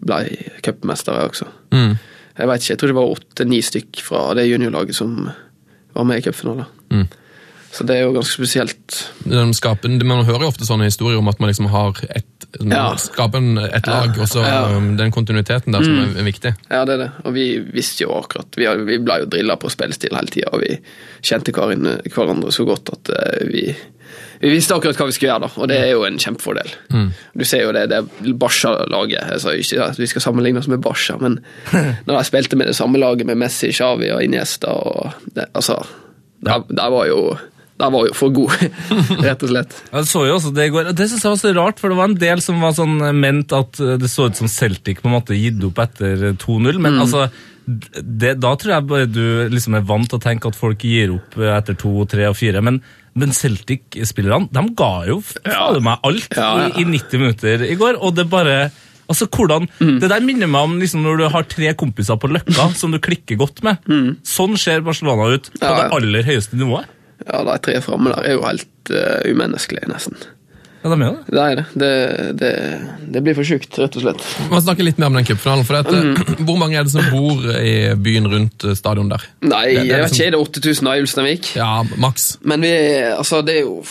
ble cupmestere også. Mm. Jeg vet ikke, jeg tror det var åtte-ni stykk fra det juniorlaget som var med i cupfinalen. Mm. Så det er jo ganske spesielt. Den skapen, man hører jo ofte sånne historier om at man liksom har et, man Ja. skaper en- et lag, og så Ja. Mm. um, den kontinuiteten der som er- er viktig. Ja, det er det. Og vi visste jo akkurat Vi, vi ble jo drilla på spillestil hele tida, og vi kjente Karin, hverandre så godt at eh, vi, vi visste akkurat hva vi skulle gjøre, da. Og det er jo en kjempefordel. Du ser jo det, det er Barca-laget altså, Ikke at vi skal sammenligne oss med Barca, men når de spilte med det samme laget med Messi, Xavi og Iniesta og det, Altså, der, der var jo der var jo for gode, <laughs> rett og slett. Jeg så jo også det i går. Det synes jeg var så rart, for det var en del som var sånn eh, ment at eh, det så ut som Celtic på en måte gitt opp etter eh, 2-0, Mm. men altså d- det, Da tror jeg bare du liksom er vant til å tenke at folk gir opp eh, etter 2, 3 og 4, men, men Celtic-spillerne de ga jo f- fader meg alt Ja, ja. I, i 90 minutter i går, og det bare Altså, hvordan, Mm. Det der minner meg om liksom, når du har tre kompiser på <laughs> Løkka som du klikker godt med. Sånn ser Barcelona ut på Mm. Ja, ja. det aller høyeste nivået. Ja, De tre framme der er jo helt eh, umenneskelige, nesten. Ja, de er jo det. Det er det. Det, det, det blir for sjukt, rett og slett. Man snakker litt mer om den cupfinalen. For det at, Mm. eh, <clears throat> Hvor mange er det som bor i byen rundt eh, stadion der? Nei, det er jeg vet liksom- ikke. Er det 8000 av i Ulsteinvik? Ja, maks. Men vi, altså, det er jo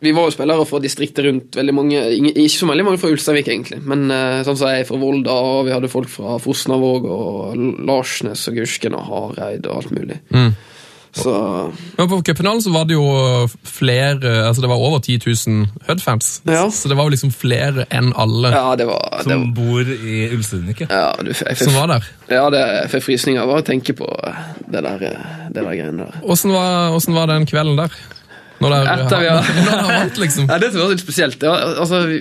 Vi var jo spillere fra distriktet rundt. veldig mange, ingen, Ikke så veldig mange fra Ulsteinvik, egentlig. Men eh, sånn som jeg er fra Volda, og vi hadde folk fra Fosnavåg og L- Larsnes og Gursken og Hareid og alt mulig. Mm. Så Men på cupfinalen så var det jo flere Altså det var over 10 000 Hudfans. Ja. Så det var jo liksom flere enn alle ja, det var, det Som var bor i Ulstein, ikke? ja, du, jeg, som fikk- var der. ja, det, jeg fikk frysninger av å tenke på det der, eh, det der greiene der. Åssen var, hvordan var den kvelden der? Når dere Etter vi har- <laughs> når dere vant, liksom. Ja, det som var litt spesielt ja, altså, vi,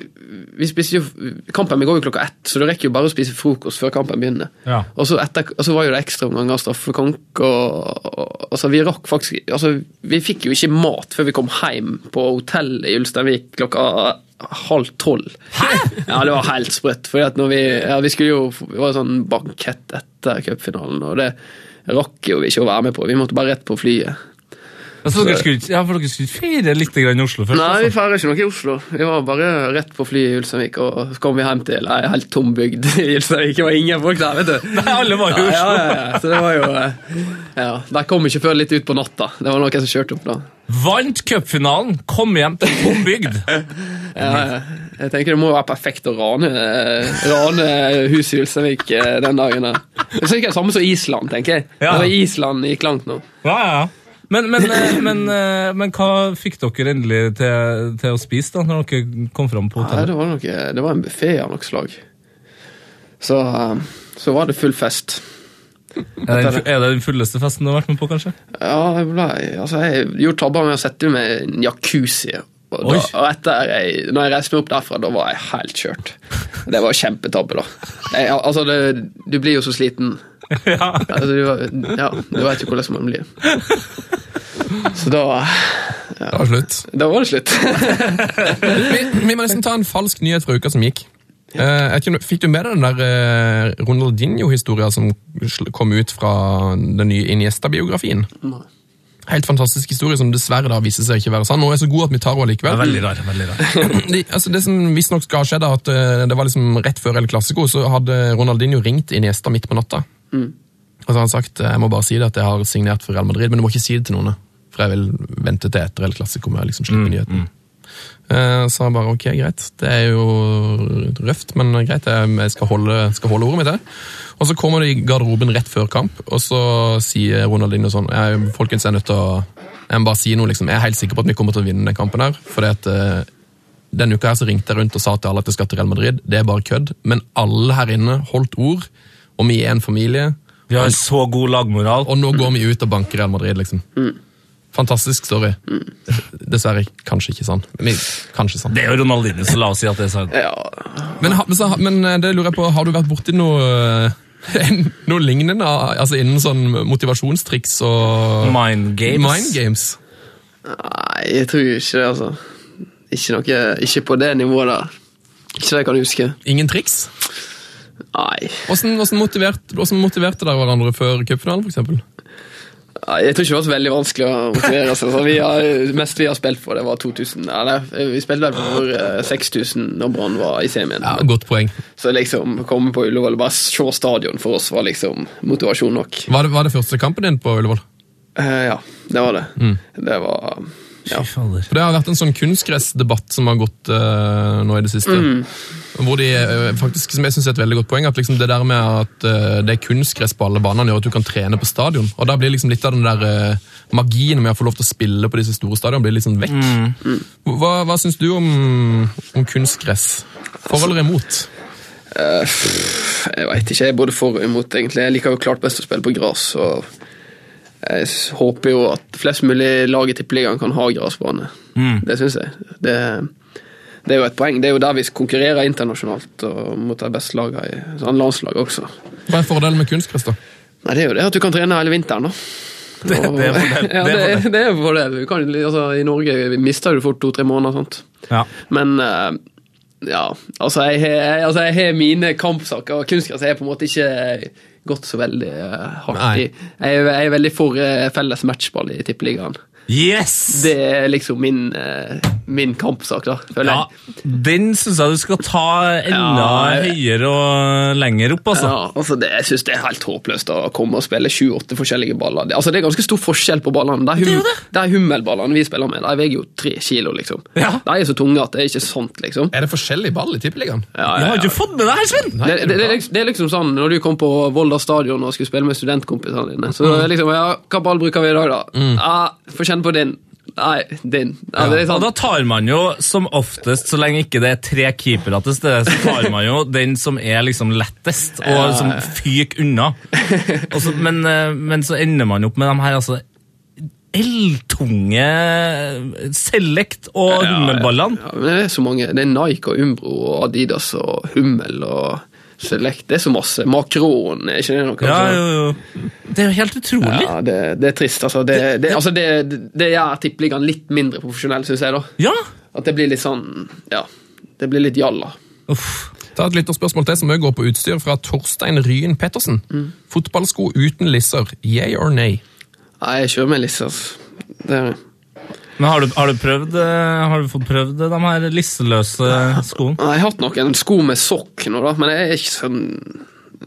vi spiser jo, Kampen min går jo klokka ett, så du rekker jo bare å spise frokost før kampen begynner. Ja. Og, så etter, og så var jo det ekstraomganger av straffekonk, og, og altså, vi rakk faktisk altså, Vi fikk jo ikke mat før vi kom hjem på hotellet i Ulsteinvik klokka halv tolv. Ja, det var helt sprøtt. Fordi at når vi, ja, vi skulle jo Det var en sånn bankett etter cupfinalen, og det rakk jo vi ikke å være med på. Vi måtte bare rett på flyet. Altså, dere skulle, ikke- ja, for dere skulle ikke feire litt grann i Oslo først? Nei, vi altså. feirer ikke noe i Oslo. Vi var bare rett på flyet i Ulsteinvik, og så kom vi hjem til ei helt tom bygd i Ulsteinvik. Det var ingen folk der, vet du. Nei, alle var jo i Ja, Oslo. ja, ja. Så det var jo eh, Ja. De kom ikke før litt ut på natta. Det var noen som kjørte opp da. Vant cupfinalen, kom hjem til tom bygd. Ja, ja. jeg tenker det må være perfekt å rane, eh, rane huset i Ulsteinvik eh, den dagen der. Det er sikkert det samme som Island, tenker jeg. Ja. Ja. Island gikk langt nå. Ja, ja. Men, men, eh, men, eh, men hva fikk dere endelig til, til å spise da, når dere kom fram på Nei, hotellet? det var, noe, det var en buffé av noe slag. Så, eh, så var det full fest. Er det, den fu- er det den fulleste festen du har vært med på, kanskje? Ja, jeg ble, altså jeg gjorde tabber med å sette meg i en jacuzzi Og, Oi. da, og etter jeg, når jeg reiste meg opp derfra, da var jeg helt kjørt. Det var kjempetabbe, da. Jeg, al- altså, det, du blir jo så sliten. <laughs> Ja. Altså, du, var- ja, du vet jo hvordan man blir. Så da Det var slutt. Da var det slutt. <laughs> Vi, vi må nesten ta en falsk nyhet fra uka som gikk. Eh, jeg vet ikke, om du- fikk du med deg den der eh, Ronaldinho-historia som sl- kom ut fra den nye Iniesta-biografien? Helt fantastisk historie som dessverre da viser seg ikke være sann. Hun er så god at vi tar henne likevel. Veldig rar. veldig rar. <laughs> De, altså det som visstnok skal ha skjedd, er at eh, det var liksom rett før El Clasico, så hadde Ronaldinho ringt Iniesta midt på natta. Og så har han sagt eh, jeg må bare si det at jeg har signert for Real Madrid, men du må ikke si det til noen. For jeg vil vente til etter El Clasico med å liksom slippe nyheten. Eh, Så han bare ok, greit. Det er jo røft, men greit, jeg jeg skal holde, skal holde ordet mitt. her. Og så kommer de i garderoben rett før kamp, og så sier Ronaldinho sånn «Jeg- Folkens, jeg er nødt til å jeg må bare si noe, liksom. Jeg er helt sikker på at vi kommer til å vinne den kampen her. fordi at eh, denne uka her så ringte jeg rundt og sa til alle at jeg skal til Real Madrid. Det er bare kødd. Men alle her inne holdt ord, og vi er en familie. Vi har så god lagmoral. Og nå går vi ut og banker Real Madrid, liksom. Fantastisk story. Dessverre kanskje ikke sånn. Men, kanskje sånn. Det er jo Ronaldinho, så la oss si at det er sant. Ja, Men, ha- men så ha- men eh, det lurer jeg på, har du vært borti noe eh, <laughs> en- noe lignende ah, altså innen sånn motivasjonstriks og Mind games. mind games? Nei, jeg tror ikke det, altså. Ikke, noe, ikke på det nivået der. Ikke det jeg kan huske. Ingen triks? Nei. Hvordan, hvordan, motiverte, hvordan motiverte dere hverandre før cupfinalen, for eksempel? Nei, Jeg tror ikke det var så veldig vanskelig å motivere seg. Så vi har, mest vi har spilt for, det var 2000 Eller, vi spilte vel for eh, 6000 når Brann var i semien. Ja, godt poeng. Så liksom, å komme på Ullevål og bare se stadion for oss var liksom motivasjon nok. Var det, var det første kampen din på Ullevål? Eh, ja, det var det. Det var ja. Fy fader. For Det har vært en sånn kunstgressdebatt som har gått eh, nå i det siste. Hvor de, eh, faktisk, som jeg synes er et veldig godt poeng, at liksom det der med at eh, det er kunstgress på alle banene gjør at du kan trene på stadion. Og da blir liksom litt av den der eh, magien med å få lov til å spille på disse store stadionene blir liksom vekk. Hva, hva syns du om, om kunstgress? For eller imot? Eh, pff, jeg veit ikke. Jeg er både for og imot, egentlig. Jeg liker jo klart best å spille på gress. Og jeg s- håper jo at flest mulig lag i Tippeligaen kan ha gressbane. Mm. Det syns jeg. Det, det er jo et poeng. Det er jo der vi konkurrerer internasjonalt og mot de beste lagene i sånn landslag også. Hva er fordelen med kunstgress, da? Nei, det er jo det at du kan trene hele vinteren, da. Det, det er fordel. <laughs> ja, Det er fordel. det, det er en fordel. Du kan, altså, I Norge mister du fort to-tre måneder. sant? Ja. Men eh, ja, altså jeg, har- jeg, altså jeg har mine kampsaker, og kunstgress er på en måte ikke gått så veldig eh, hardt Nei. i. Jeg, er- jeg er veldig for eh, felles matchball i Tippeligaen. Yes! Det er liksom min, eh, min kampsak, da, føler ja, jeg. den syns jeg du skal ta enda Ja, jeg- høyere og lenger opp, altså. Ja, altså det, jeg synes det er helt håpløst å komme og spille 7-8 forskjellige baller. Det- Altså Det er ganske stor forskjell på ballene. De, hum, de hummelballene vi spiller med, de veier jo tre kilo, liksom. Ja. De er så tunge at det er ikke sant, liksom. Er det forskjellig ball i Tippeligaen? Ja, Jeg har ikke fått med det her, Sven! Det, det, det, er liksom, det er liksom sånn når du kom på Volda stadion og skulle spille med studentkompisene dine. Så Mm. er det liksom, ja, Hva ball bruker vi i dag, da? Ja, Få kjenne på din. Nei, din. Ja, det er Og sånn. da tar man jo som oftest, så lenge ikke det er tre keepere til stede, så tar man jo den som er liksom lettest, og som fyker unna. Og så- men, eh, men så ender man opp med de her altså, eltunge Select og hummelballene. Ja, men det er så mange. Det er Nike og Umbro og Adidas og Hummel og Select. Det er så masse. Makron, er ikke det noe? Ja, jo, jo. Det er jo helt utrolig. Ja, det, det er trist, altså. Det, det, altså, det, det gjør tippeligaen litt mindre profesjonell, syns jeg, da. Ja! At det blir litt sånn Ja. Det blir litt jalla. Uff. Ta et lytterspørsmål til som også går på utstyr fra Torstein Ryen Pettersen. Fotballsko uten lisser, yay or nay? Nei, jeg kjører med Lisse, altså. Det er Men har du, har du prøvd eh, Har du fått prøvd de her lisseløse skoene? Nei, Jeg har hatt noen sko med sokk nå, da, men jeg er ikke sånn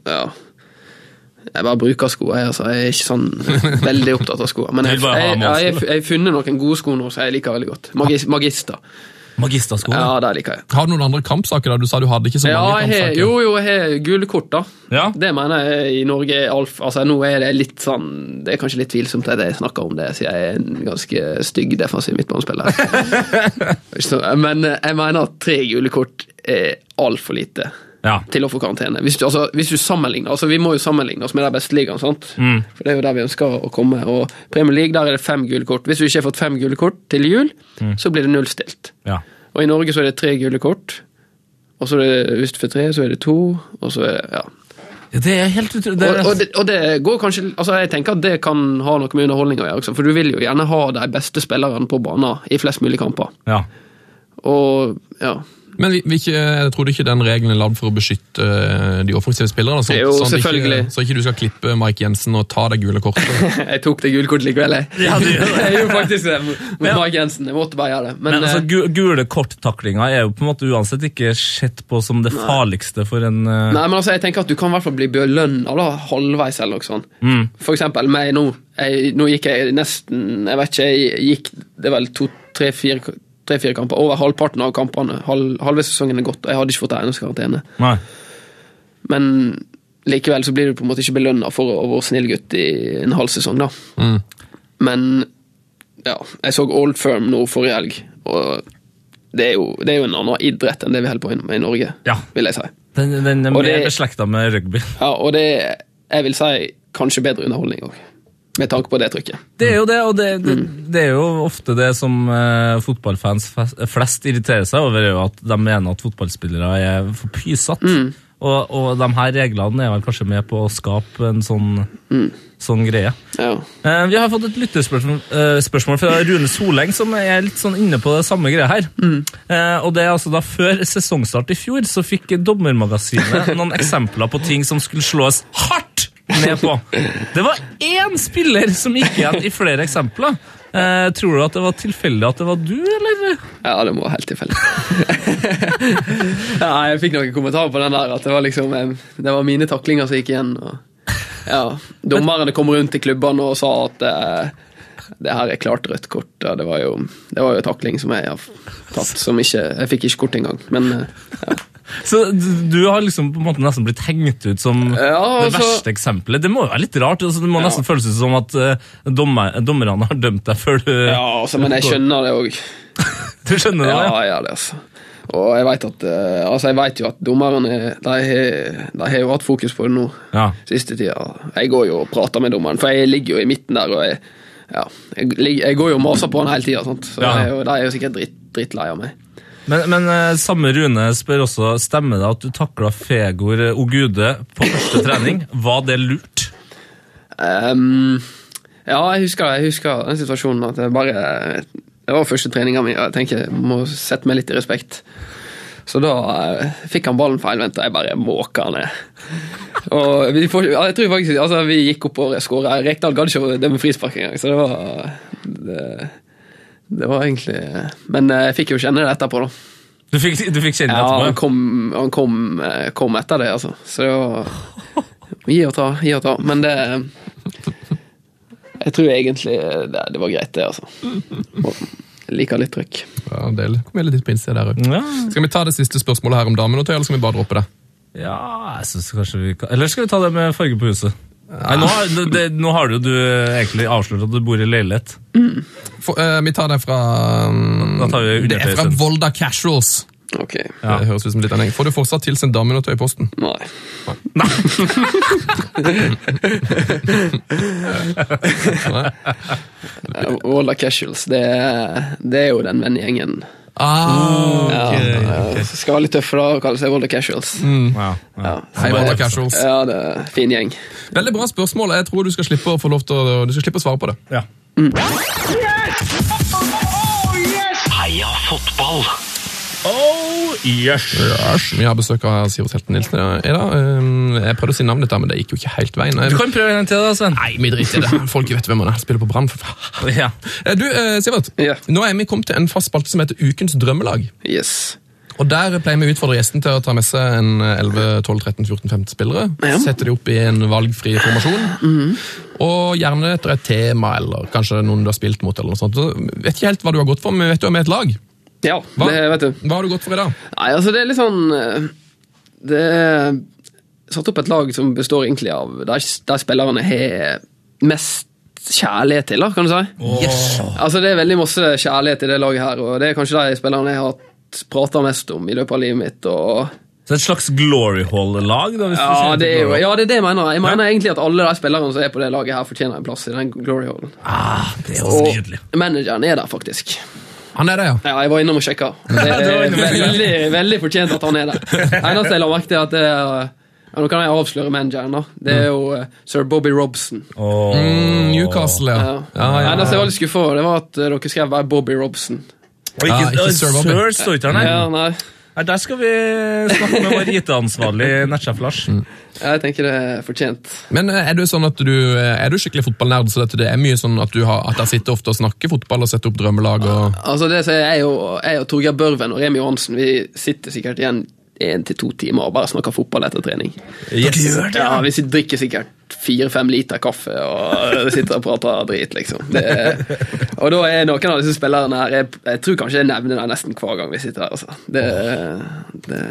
Ja. Jeg bare bruker sko, jeg, altså. Jeg er ikke sånn veldig opptatt av sko. Men jeg Du vil bare ha jeg- med ja, oss, jeg- jeg har funnet noen gode sko nå som jeg liker veldig godt. Magis, magister. Magisterskoene? Ja, det liker jeg. Har du noen andre kampsaker der du sa du hadde ikke så mange Ja, jeg har, kampsaker? jo, jo, jeg har gule kort, da. Ja. Det mener jeg i Norge er alf, altså Nå er det litt sånn Det er kanskje litt tvilsomt at jeg snakker om det, siden jeg er en ganske stygg defensiv <laughs> midtbanespiller. Så, Men eh, jeg mener at tre gule kort er altfor lite. Ja. til å få karantene. Hvis du, altså, hvis du sammenligner, altså Vi må jo sammenligne oss med de beste ligaene, sant? Mm. for det er jo der vi ønsker å komme. Og Premier League der er det fem gule kort. Hvis du ikke har fått fem gule kort til jul, Mm. så blir det nullstilt. ja. Og i Norge så er det tre gule kort. Og så er det, hvis du får tre, så er det to. Og så er det, ja. Det er helt utrolig. Det Og, er, og, det, og det går kanskje altså Jeg tenker at det kan ha noe med underholdning å gjøre også, for du vil jo gjerne ha de beste spillerne på banen i flest mulig kamper. ja. Og ja Men vi, vi ikke, jeg tror du ikke den regelen er lagd for å beskytte eh, de offensive spillerne? Så, Jo, sånn at selvfølgelig. Ikke, så ikke du skal klippe Mike Jensen og ta det gule kortet. <laughs> Jeg tok det gule kortet likevel, jeg. Ja, du gjør det. <laughs> jeg gjorde faktisk det mot Men- Mike Jensen. Jeg måtte bare gjøre det. Men, Men altså, eh, gu- gule korttaklinga er jo på en måte uansett ikke sett på som det farligste for en eh, nei, men altså, jeg tenker at du kan i hvert fall bli belønna da, halvveis eller noe sånt. Mm. For eksempel meg nå. Jeg, nå gikk jeg nesten Jeg vet ikke, jeg gikk det er vel to, tre, fire tre-fire kamper, Over halvparten av kampene. Halv, halve sesongen er gått, og jeg hadde ikke fått eiendomskarantene. Nei. Men likevel så blir du på en måte ikke belønna for å være snill gutt i en halv sesong, da. Mm. Men ja, jeg så Old Firm nå forrige helg, og det er, jo, det er jo en annen idrett enn det vi holder på med i Norge, Ja. vil jeg si. Den, den er Og mer det- beslekta med rugby. Ja, og det er, jeg vil si, kanskje bedre underholdning òg, med tanke på det trykket. Det er jo det, og det, det, Mm. det er jo ofte det som eh, fotballfans fes- flest irriterer seg over, er jo at de mener at fotballspillere er for pysete. Mm. Og, og de her reglene er vel kanskje med på å skape en sånn, Mm. sånn greie. Ja. Eh, Vi har fått et lytterspørsmål eh, spørsmål fra Rune Soleng, som er litt sånn inne på det samme greia her. Mm. Eh, Og det er altså da Før sesongstart i fjor så fikk <laughs> Dommermagasinet noen eksempler på ting som skulle slås hardt ned på. Det var én spiller som gikk igjen i flere eksempler. Eh, tror du at det var tilfeldig at det var du, eller? ja, det må være helt tilfeldig. <laughs> ja, jeg fikk noen kommentarer på den der, at det var liksom eh, Det var mine taklinger som gikk igjen. og ja, Dommerne kom rundt i klubbene og sa at eh, det her er klart rødt kort. Ja, det, var jo, det var jo takling som jeg har tatt, som ikke Jeg fikk ikke kort engang. Men eh, Så d- du har liksom på en måte nesten blitt hengt ut som Ja, det altså- verste eksempelet. Det må jo være litt rart. Altså, det må Ja. nesten føles ut som at eh, dommer, dommerne har dømt deg før du ja, altså, men jeg skjønner det òg. Du skjønner det? Ja, ja, det, altså. Og jeg vet, at, eh, altså, jeg vet jo at dommerne de, har- de har jo hatt fokus på det nå Ja. siste tida. Jeg går jo og prater med dommeren, for jeg ligger jo i midten der. og Jeg, ja, jeg, ligger- jeg går jo og maser på han hele tida, så Ja. jeg er jo- de er jo sikkert dritt, drittlei av meg. Men, men eh, samme Rune spør også, stemmer det at du takla Fegor eh, Ogude på <laughs> første trening? Var det lurt? Ehm, ja, jeg husker, jeg husker den situasjonen at jeg bare Det var første treninga mi, og jeg tenker jeg må sette meg litt i respekt. Så da eh, fikk han ballen feilvendt, og jeg bare måka han ned. Og vi får, ja, jeg tror faktisk, altså, vi gikk opp og skåra. Rekdal gadd ikke å dømme frispark engang, så det var det, det var egentlig Men eh, jeg fikk jo kjenne det etterpå, da. Du fikk, du fikk kjenne det Ja, han etterpå? kom, han kom, eh, kom etter det, altså. Så <laughs> det var Gi og ta, gi og ta. Men det Jeg tror egentlig eh, det, det var greit, det, altså. Og Jeg liker litt trykk. Ja, det kom veldig litt på innsida der òg. Ja, Skal vi ta det siste spørsmålet her om damene, eller skal vi bare droppe det? ja jeg synes kanskje vi kan Eller skal vi ta det med farge på huset? Nei, nå, har, det, det, nå har du, du egentlig avslørt at du bor i leilighet. For, eh, vi tar det fra mm, Da tar vi Det er fra undertøysen. Volda Casuals. Ok. Ja. Det høres ut som litt anlegg. Får du fortsatt tilsendt daminotøy i <laughs> posten? Nei. Eh, Walla Casuals, det, er- det er jo den vennegjengen. Ah, Oh, Ja, eh, skal være litt tøff da å kalle seg Walla Casuals. Ja, ja. Mm. Ja. Hei, Volda Mm, Casuals. ja, det er en fin gjeng. Veldig bra spørsmål. Jeg tror du skal slippe å få lov til å, du skal slippe å svare på det. Ja. Heia fotball! Oh, yes. Vi har besøk av Sivert Helten Nilsen i dag. Um, Jeg prøvde å si navnet ditt, der, men det gikk jo ikke helt veien. Du Jeg, kan prøve en gang til, da, Sven. nei, vi driter i det. Folk vet hvem han er. Spiller på Brann. for faen. Ja. Eh, Du, eh, Sivert. Ja. Nå er vi kommet til en fast spalte som heter Ukens drømmelag. Yes. Og Der pleier vi å utfordre gjesten til å ta med seg en eh, 11, 12, 13, 14, 15 spillere. Ja. Sette de opp i en valgfri formasjon. Og gjerne etter et tema, eller kanskje noen du har spilt mot. eller noe sånt. Så vi vet ikke helt hva du har gått for, men vi vet du har med et lag. Ja, Hva, det vet du. hva har du gått for i dag? Nei, altså det er litt sånn eh, Det er satt opp et lag som består egentlig av der, der spillerne har mest kjærlighet til, da, kan du si. Altså Det er veldig masse kjærlighet i det laget her, og det er kanskje de spillerne jeg har hatt- pratet mest om i løpet av livet mitt. og Så et slags glory hall-lag? da, hvis du Ja, sier det er jo, glory hall. ja, det er det jeg mener. Jeg mener egentlig at alle de spillerne som er på det laget her, fortjener en plass i den glory hallen. Ah, det er også Og nydelig. manageren er der, faktisk. Han er det, ja. Ja, jeg var innom og sjekka. Det Du var er innom og sjekka. veldig, veldig fortjent at han er der. Eneste jeg la merke til, er at det er ja, Nå kan jeg avsløre manageren, da. Det er jo eh, sir Bobby Robson. Åh. Mm, Newcastle, ja. Ja. Eneste jeg var litt skuffa over, det var at eh, dere skrev være Bobby Robson. Og ikke, Ja, ikke og Sir Sir Bobby. står ikke her, nei. Ja, nei, Nei, Der skal vi snakke med vår <laughs> IT-ansvarlig nettsjef Lars. jeg tenker det er fortjent. Men eh, er du sånn at du, eh, er du skikkelig fotballnerd, så dette, det er mye sånn at du har, at jeg sitter ofte og snakker fotball og setter opp drømmelag og Altså det som Jeg og, jeg og Torgeir Børven og Remi Johansen Vi sitter sikkert igjen én til to timer og bare snakker fotball etter trening. Dere gjør det, Ja, ja. Vi sitter, drikker sikkert fire-fem liter kaffe og sitter og prater drit, liksom. Det, og da er noen av disse spillerne her Jeg, jeg tror kanskje jeg nevner det nesten hver gang vi sitter her. Altså. Det, det,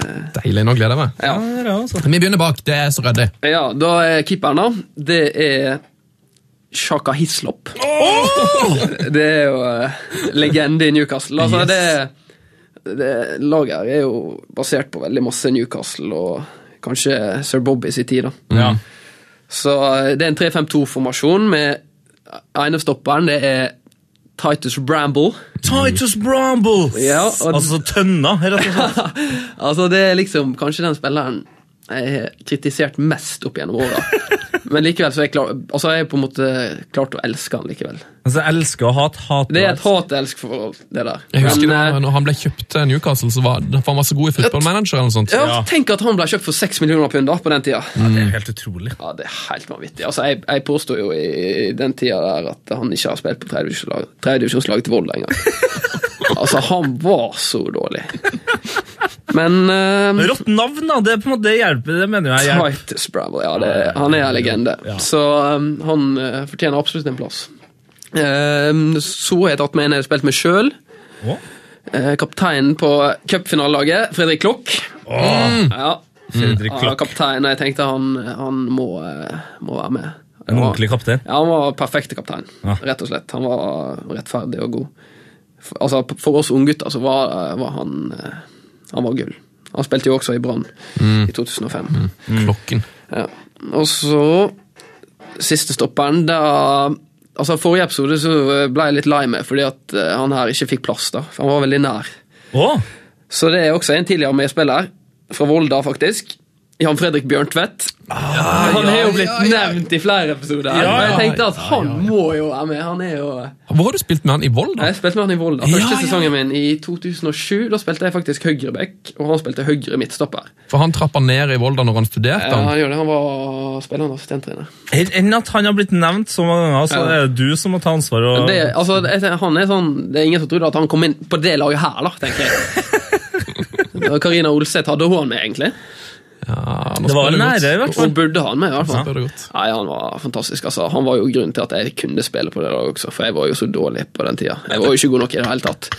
Deilig, nå gleder jeg meg. ja. Ja, det er altså. Vi begynner bak, det er så redd jeg. ja, da er keeperen, da. Det er Shaka Hislop. Det er jo eh, legende i Newcastle. Altså, det, det laget her er jo basert på veldig masse Newcastle og kanskje Sir Bobby sin tid. da. Ja. Så eh, det er en 3-5-2-formasjon med ene stopperen, det er Titus Bramble. Titus Bramble! Ja, og- Altså tønna, rett og slett. altså, det er liksom kanskje den spilleren jeg har kritisert mest opp gjennom åra. Men likevel så er jeg klar, altså jeg har på en måte klart å elske han likevel. <laughs> Altså, jeg elsker å ha et hat. Det er et hat-elsk-forhold, det der. Jeg husker Men, eh, da når han ble kjøpt til Newcastle, så var for han var så god i fotballmanager eller noe sånt. eh, Ja, Ja. Tenk at han ble kjøpt for 6 millioner pund da, på den tida. Det er helt utrolig. Ja, Det er helt vanvittig. Altså, Jeg, jeg påstår jo i den tida der at han ikke har spilt på tredjedivisjonslag- tredjedivisjonslaget til Volda engang. altså, han var så dårlig. Men eh, Mm. Rått navn, da. Det er på en måte det hjelper. Det mener jeg hjelper. Titus Bramble, ja, det, han er en legende. Ja. Så um, han eh, fortjener absolutt en plass. Um, så har jeg tatt med en jeg har spilt med sjøl. Å? kapteinen på cupfinalelaget, Fredrik Klokk. Åh, Ja, Fredrik han var Klokk. kaptein, og jeg tenkte han, han må, eh, må være med. En ordentlig kaptein. Ja, han var perfekte kaptein, Ja. rett og slett. Han var rettferdig og god. For, altså, p- for oss unggutter så var, var han eh, Han var gull. Han spilte jo også i Brann Mm. i 2005. Mm. Klokken. Ja. Og så siste stopperen, da Altså, forrige episode så ble jeg litt lei meg fordi at eh, han her ikke fikk plass, da. For han var veldig nær. Åh, Så det er også en tidligere medspiller, fra Volda faktisk. Jan Fredrik Bjørntvedt. Ah, han er jo blitt nevnt i flere episoder. her, Ja, ja, men jeg tenkte at han må jo være med. Han er jo eh, Hvor har du spilt med han i Vold, da? Jeg spilte med han i Volda. Ja, Første ja. sesongen min i 2007. Da spilte jeg faktisk høyreback, og han spilte høyre midtstopper. For han trappa ned i Volda når han studerte. Ja, han. han gjør det. Han var spillende assistenttrener. en- Enn at han har blitt nevnt så mange ganger, så Ja. er det du som må ta ansvar. Og... Det, altså, jeg tenker, han er sånn, det er ingen som trodde at han kom inn på det laget her, da, tenker jeg. <laughs> Og Karina Olseth hadde hun han med, egentlig. Ja, nå Det var spiller du godt. nære, i hvert fall. Hun burde ha han med, i hvert Nå fall. spiller du godt. Nei, Han var fantastisk. altså. Han var jo grunnen til at jeg kunne spille på det laget også, for jeg var jo så dårlig på den tida. Jeg var jo ikke god nok i det hele tatt.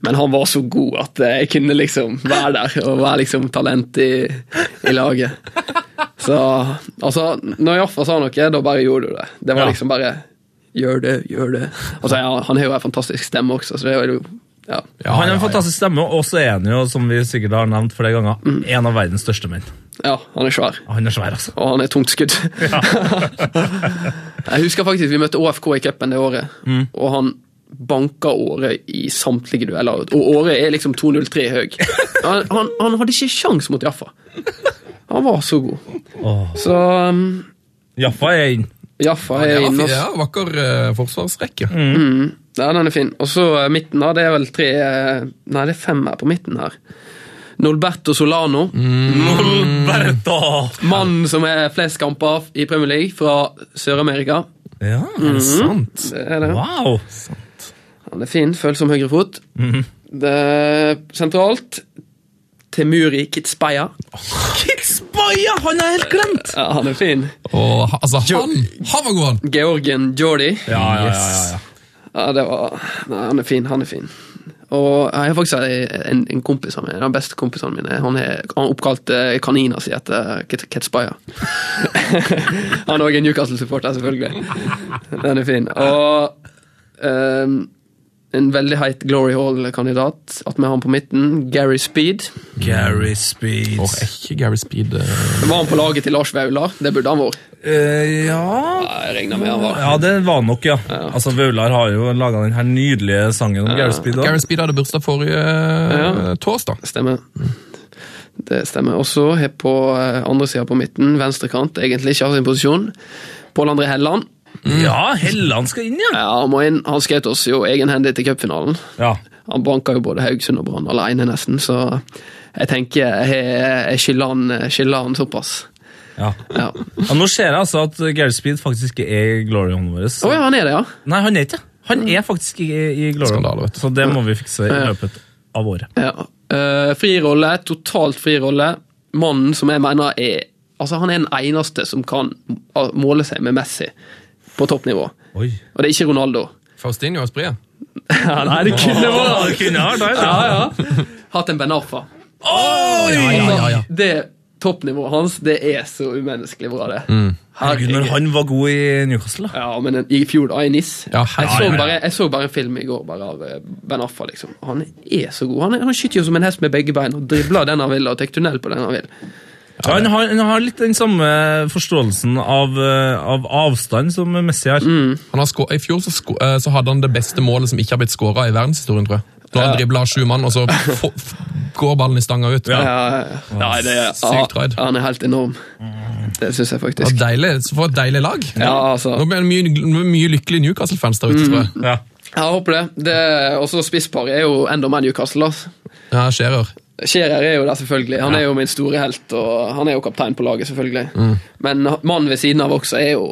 Men han var så god at jeg kunne liksom være der og være liksom talent i, i laget. Så altså, når Jaffa sa noe, da bare gjorde du det. Det Ja. var liksom bare Gjør det, gjør det. Altså, ja, Han har jo en fantastisk stemme også, så det var jo ja. Ja, han har ja, en ja. fantastisk stemme, og så er han jo, som vi sikkert har nevnt flere ganger, Mm. en av verdens største menn. ja, han er svær. Han er svær, altså. Og han er tungt skudd. <laughs> jeg husker faktisk vi møtte ÅFK i cupen det året, og han banka Åre i samtlige dueller. Og Åre er liksom 2,03 høy. Han, han, han hadde ikke sjans mot Jaffa. Han var så god. Åh. Så um, Jaffa er inn. Jaffa Ja, er fin- inne. ja, Ja. vakker eh, forsvarsrekke. ja, den er fin. Og så eh, midten, da. Det er vel tre eh, Nei, det er fem her på midten her. Nolberto Solano. Mm. Molberta! Mannen som er flest kamper i Premier League fra Sør-Amerika. Ja, er Mm. det sant? Det er det. Wow! Han er fin, følsom høyrefot. Det er sentralt Temuri Kitspeya. Kitsbaja! Han er helt glemt! Ja, han er fin. Og ha- altså, han, han var god, han! Georgen Jordi. Ja, ja, Mm. ja, ja, ja. Ja, det var Nei, han er fin. Han er fin. Og jeg har faktisk en, en kompis av meg, den beste kompisen min, han er han oppkalte kanina si etter Kit- Kitspeya. <laughs> han er òg en Newcastle-supporter, selvfølgelig. Den er fin. Og ehm, en veldig heit Glory Hall-kandidat. At vi har han på midten. Gary Speed. Gary Speed. Åh, er ikke Gary Speed eh, Var han på laget til Lars Vaular? Det burde han vært. Eh, ja Ja, Jeg regner med han var. Ja, det var nok, ja. Altså, Vaular har jo laga den her nydelige sangen om Gary Speed. Gary også. Speed hadde bursdag forrige eh, torsdag. Stemmer. Det stemmer. Og så har på eh, andre sida på midten, venstre kant, egentlig ikke har sin posisjon, Pål André Helland. Mm. Ja, Helland skal inn, ja! Ja, han må inn. Han skjøt oss jo egenhendig til cupfinalen. ja. Han banka jo både Haugesund og Brann alene, nesten, så jeg tenker jeg, jeg skylder han, skylder han såpass. ja. Ja. Å ja nå ser jeg altså at Gary Speed faktisk ikke er i glory-hånden vår. så- ja, han er det, ja. Nei, han er ikke det. Han er faktisk ikke i i glory Mm. Skandale, vet du. så det må vi fikse i løpet av året. ja. Eh, fri rolle, totalt fri rolle. Mannen som jeg mener er Altså, han er den eneste som kan måle seg med Messi på toppnivå. Og Oi. det er ikke Ronaldo. Faustinho Espria. Nei, det kunne Ja, det kunne jeg vært der, da. Ja, <laughs> ja. Hatt en Ben Arfa. Ja, Altså, ja, ja, ja. Det toppnivået hans, det er så umenneskelig bra, det. Mm. Herregud, når han var god i Newcastle, da. Ja, men i fjor, da, i NIS Ja, ja, jeg, så ja, ja. Bare, jeg så bare en film i går bare av eh, Ben Affa, liksom. Han er så god. Han, er- han skyter jo som en hest med begge bein og dribler den han vil, og tar tunnel på den han vil. Ja, han, har, han har litt den samme forståelsen av, eh, av avstand som Messi har. Mm. Han har sko- I fjor så, sko- eh, så hadde han det beste målet som ikke har blitt skåra i verdenshistorien, tror jeg. Når han dribla sju mann, og så få- f går ballen i stanga ut. Ja. Det Nei, det er, Sykt raid. han er helt enorm. Det syns jeg var faktisk. deilig. Så for et deilig lag. Ja, altså. Nå blir det mye, nå er det mye lykkelige Newcastle-fans der ute, tror jeg. Ja. Jeg håper det. det også spissparet er jo enda mer Newcastle. Altså. Ja, Scherer. Scherer er jo der, selvfølgelig. Han er jo min store helt, og han er jo kaptein på laget, selvfølgelig. Men mannen ved siden av også er jo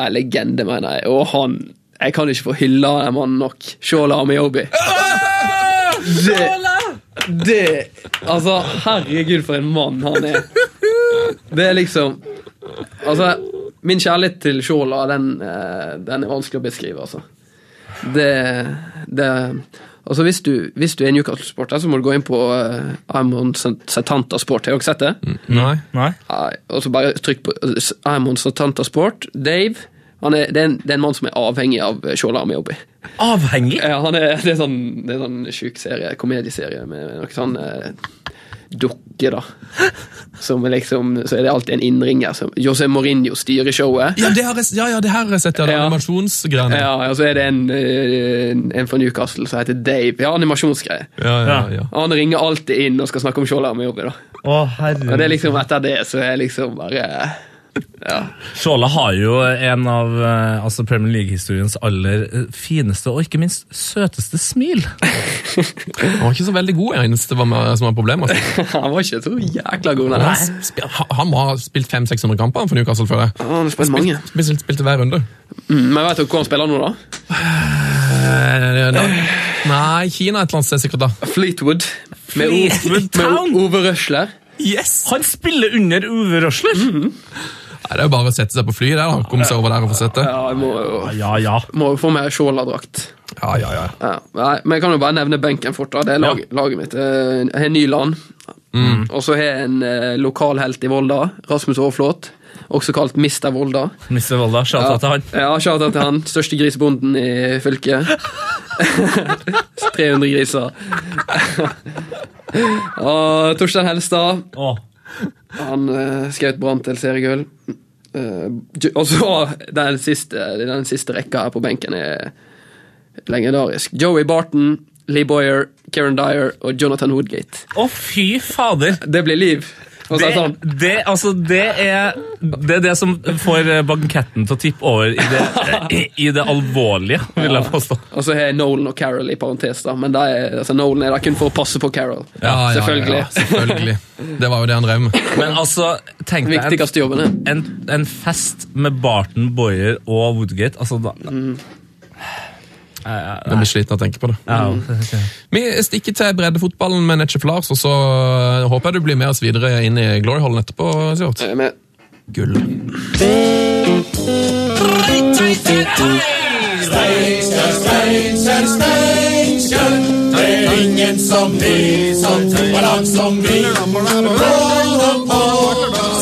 en legende, mener jeg. Og han Jeg kan ikke få hylla den mannen nok. Shola Amiobi. Det, det Altså, herregud, for en mann han er. Det er liksom Altså, min kjærlighet til Shola, den, eh, den er vanskelig å beskrive, altså. Det, det Altså hvis du, hvis du er Newcastle-sporter, så må du gå inn på uh, Amon Satanta Sport. Har dere sett det? Nei. Nei? Nei, og så bare trykk på eh, Amon Satanta Sport. Dave. Han er, det, er en, det er en mann som er avhengig av eh, Shola Amiobi. Avhengig? Ja, han er, det er sånn, det er sånn sjuk serie, komedieserie med noen sånn eh, dukke, <laughs> da. Som er liksom, så er det alltid en innringer. Som, José Mourinho styrer showet. Ja, det har jeg, ja, ja, det her har jeg sett, ja. det Ja. Animasjonsgreiene. Ja. Ja, og så er det en, eh, en- en fra Newcastle som heter Dave. Ja, animasjonsgreier. Ja, ja, ja. Han ringer alltid inn og skal snakke om Skjold med jobb i dag. Å, Og det er herregud. liksom etter det så er jeg liksom <laughs> bare ja. Sjåla har jo en av eh, altså Premier League-historiens aller eh, fineste og ikke minst søteste smil. Han var ikke så veldig god, jeg eneste var med, som var problemet. Altså. Han var ikke så jækla god, den Han, der. sp- ha- han må ha spilt 500-600 kamper han, for Newcastle, føler jeg. Han har spilt mange. Spilt, spilte hver runde. Mm, Men vet dere hvor han spiller nå, da? Eh, da- Nei, Kina et eller annet sted sikkert, da. Fleetwood. Med, O- Fleetwood med Town. O- Ove Røsler. Yes! Han spiller under Uwe Røsler! Mm. Nei, det er jo bare å sette seg på flyet der, da. Komme seg over der og få sett det. Ja, jeg må jo Ja, ja. må jo få meg Skjold-drakt. Ja, ja, ja. Ja, nei, men jeg kan jo bare nevne benken fort. da, Det er lag, laget mitt. Eh, Jeg har Nyland. Og så har jeg en eh, lokal helt i Volda, Rasmus Aaflot. Også kalt Mister Volda. Mr. Volda, shout out til han. Ja, shout-out til han. Største grisebonden i fylket. <laughs> 300 griser. <laughs> Og Torstein Helstad. Å, Han uh, skjøt Brann til seriegull. Eh, Ju- og så den siste, den siste rekka her på benken er legendarisk. Joey Barton, Lee Boyer, Kieran Dyer og Jonathan Woodgate. Å, fy fader! Det blir liv. for å Det, si det sånn. det, altså, det, er, det er det som får eh, banketten til å tippe over i det, i, i det alvorlige, vil jeg påstå. Og så har jeg Nolan og Carol i parentes, da. men de er, altså, Nolan er der kun for å passe på Carol. Ja, ja, ja, Selvfølgelig. Ja, <laughs> selvfølgelig. Det var jo det han drev med. Men altså, tenk deg en, Viktigste jobben er en, en fest med Barton, Boyer og Woodgate. Altså, da, Mm. Jeg blir sliten av å tenke på det. ja. Vi stikker til breddefotballen med Netchef Lars, og så eh, håper jeg du blir med oss videre inn i Glory Hallen etterpå. Sivert. Eh, men- Gull. Ei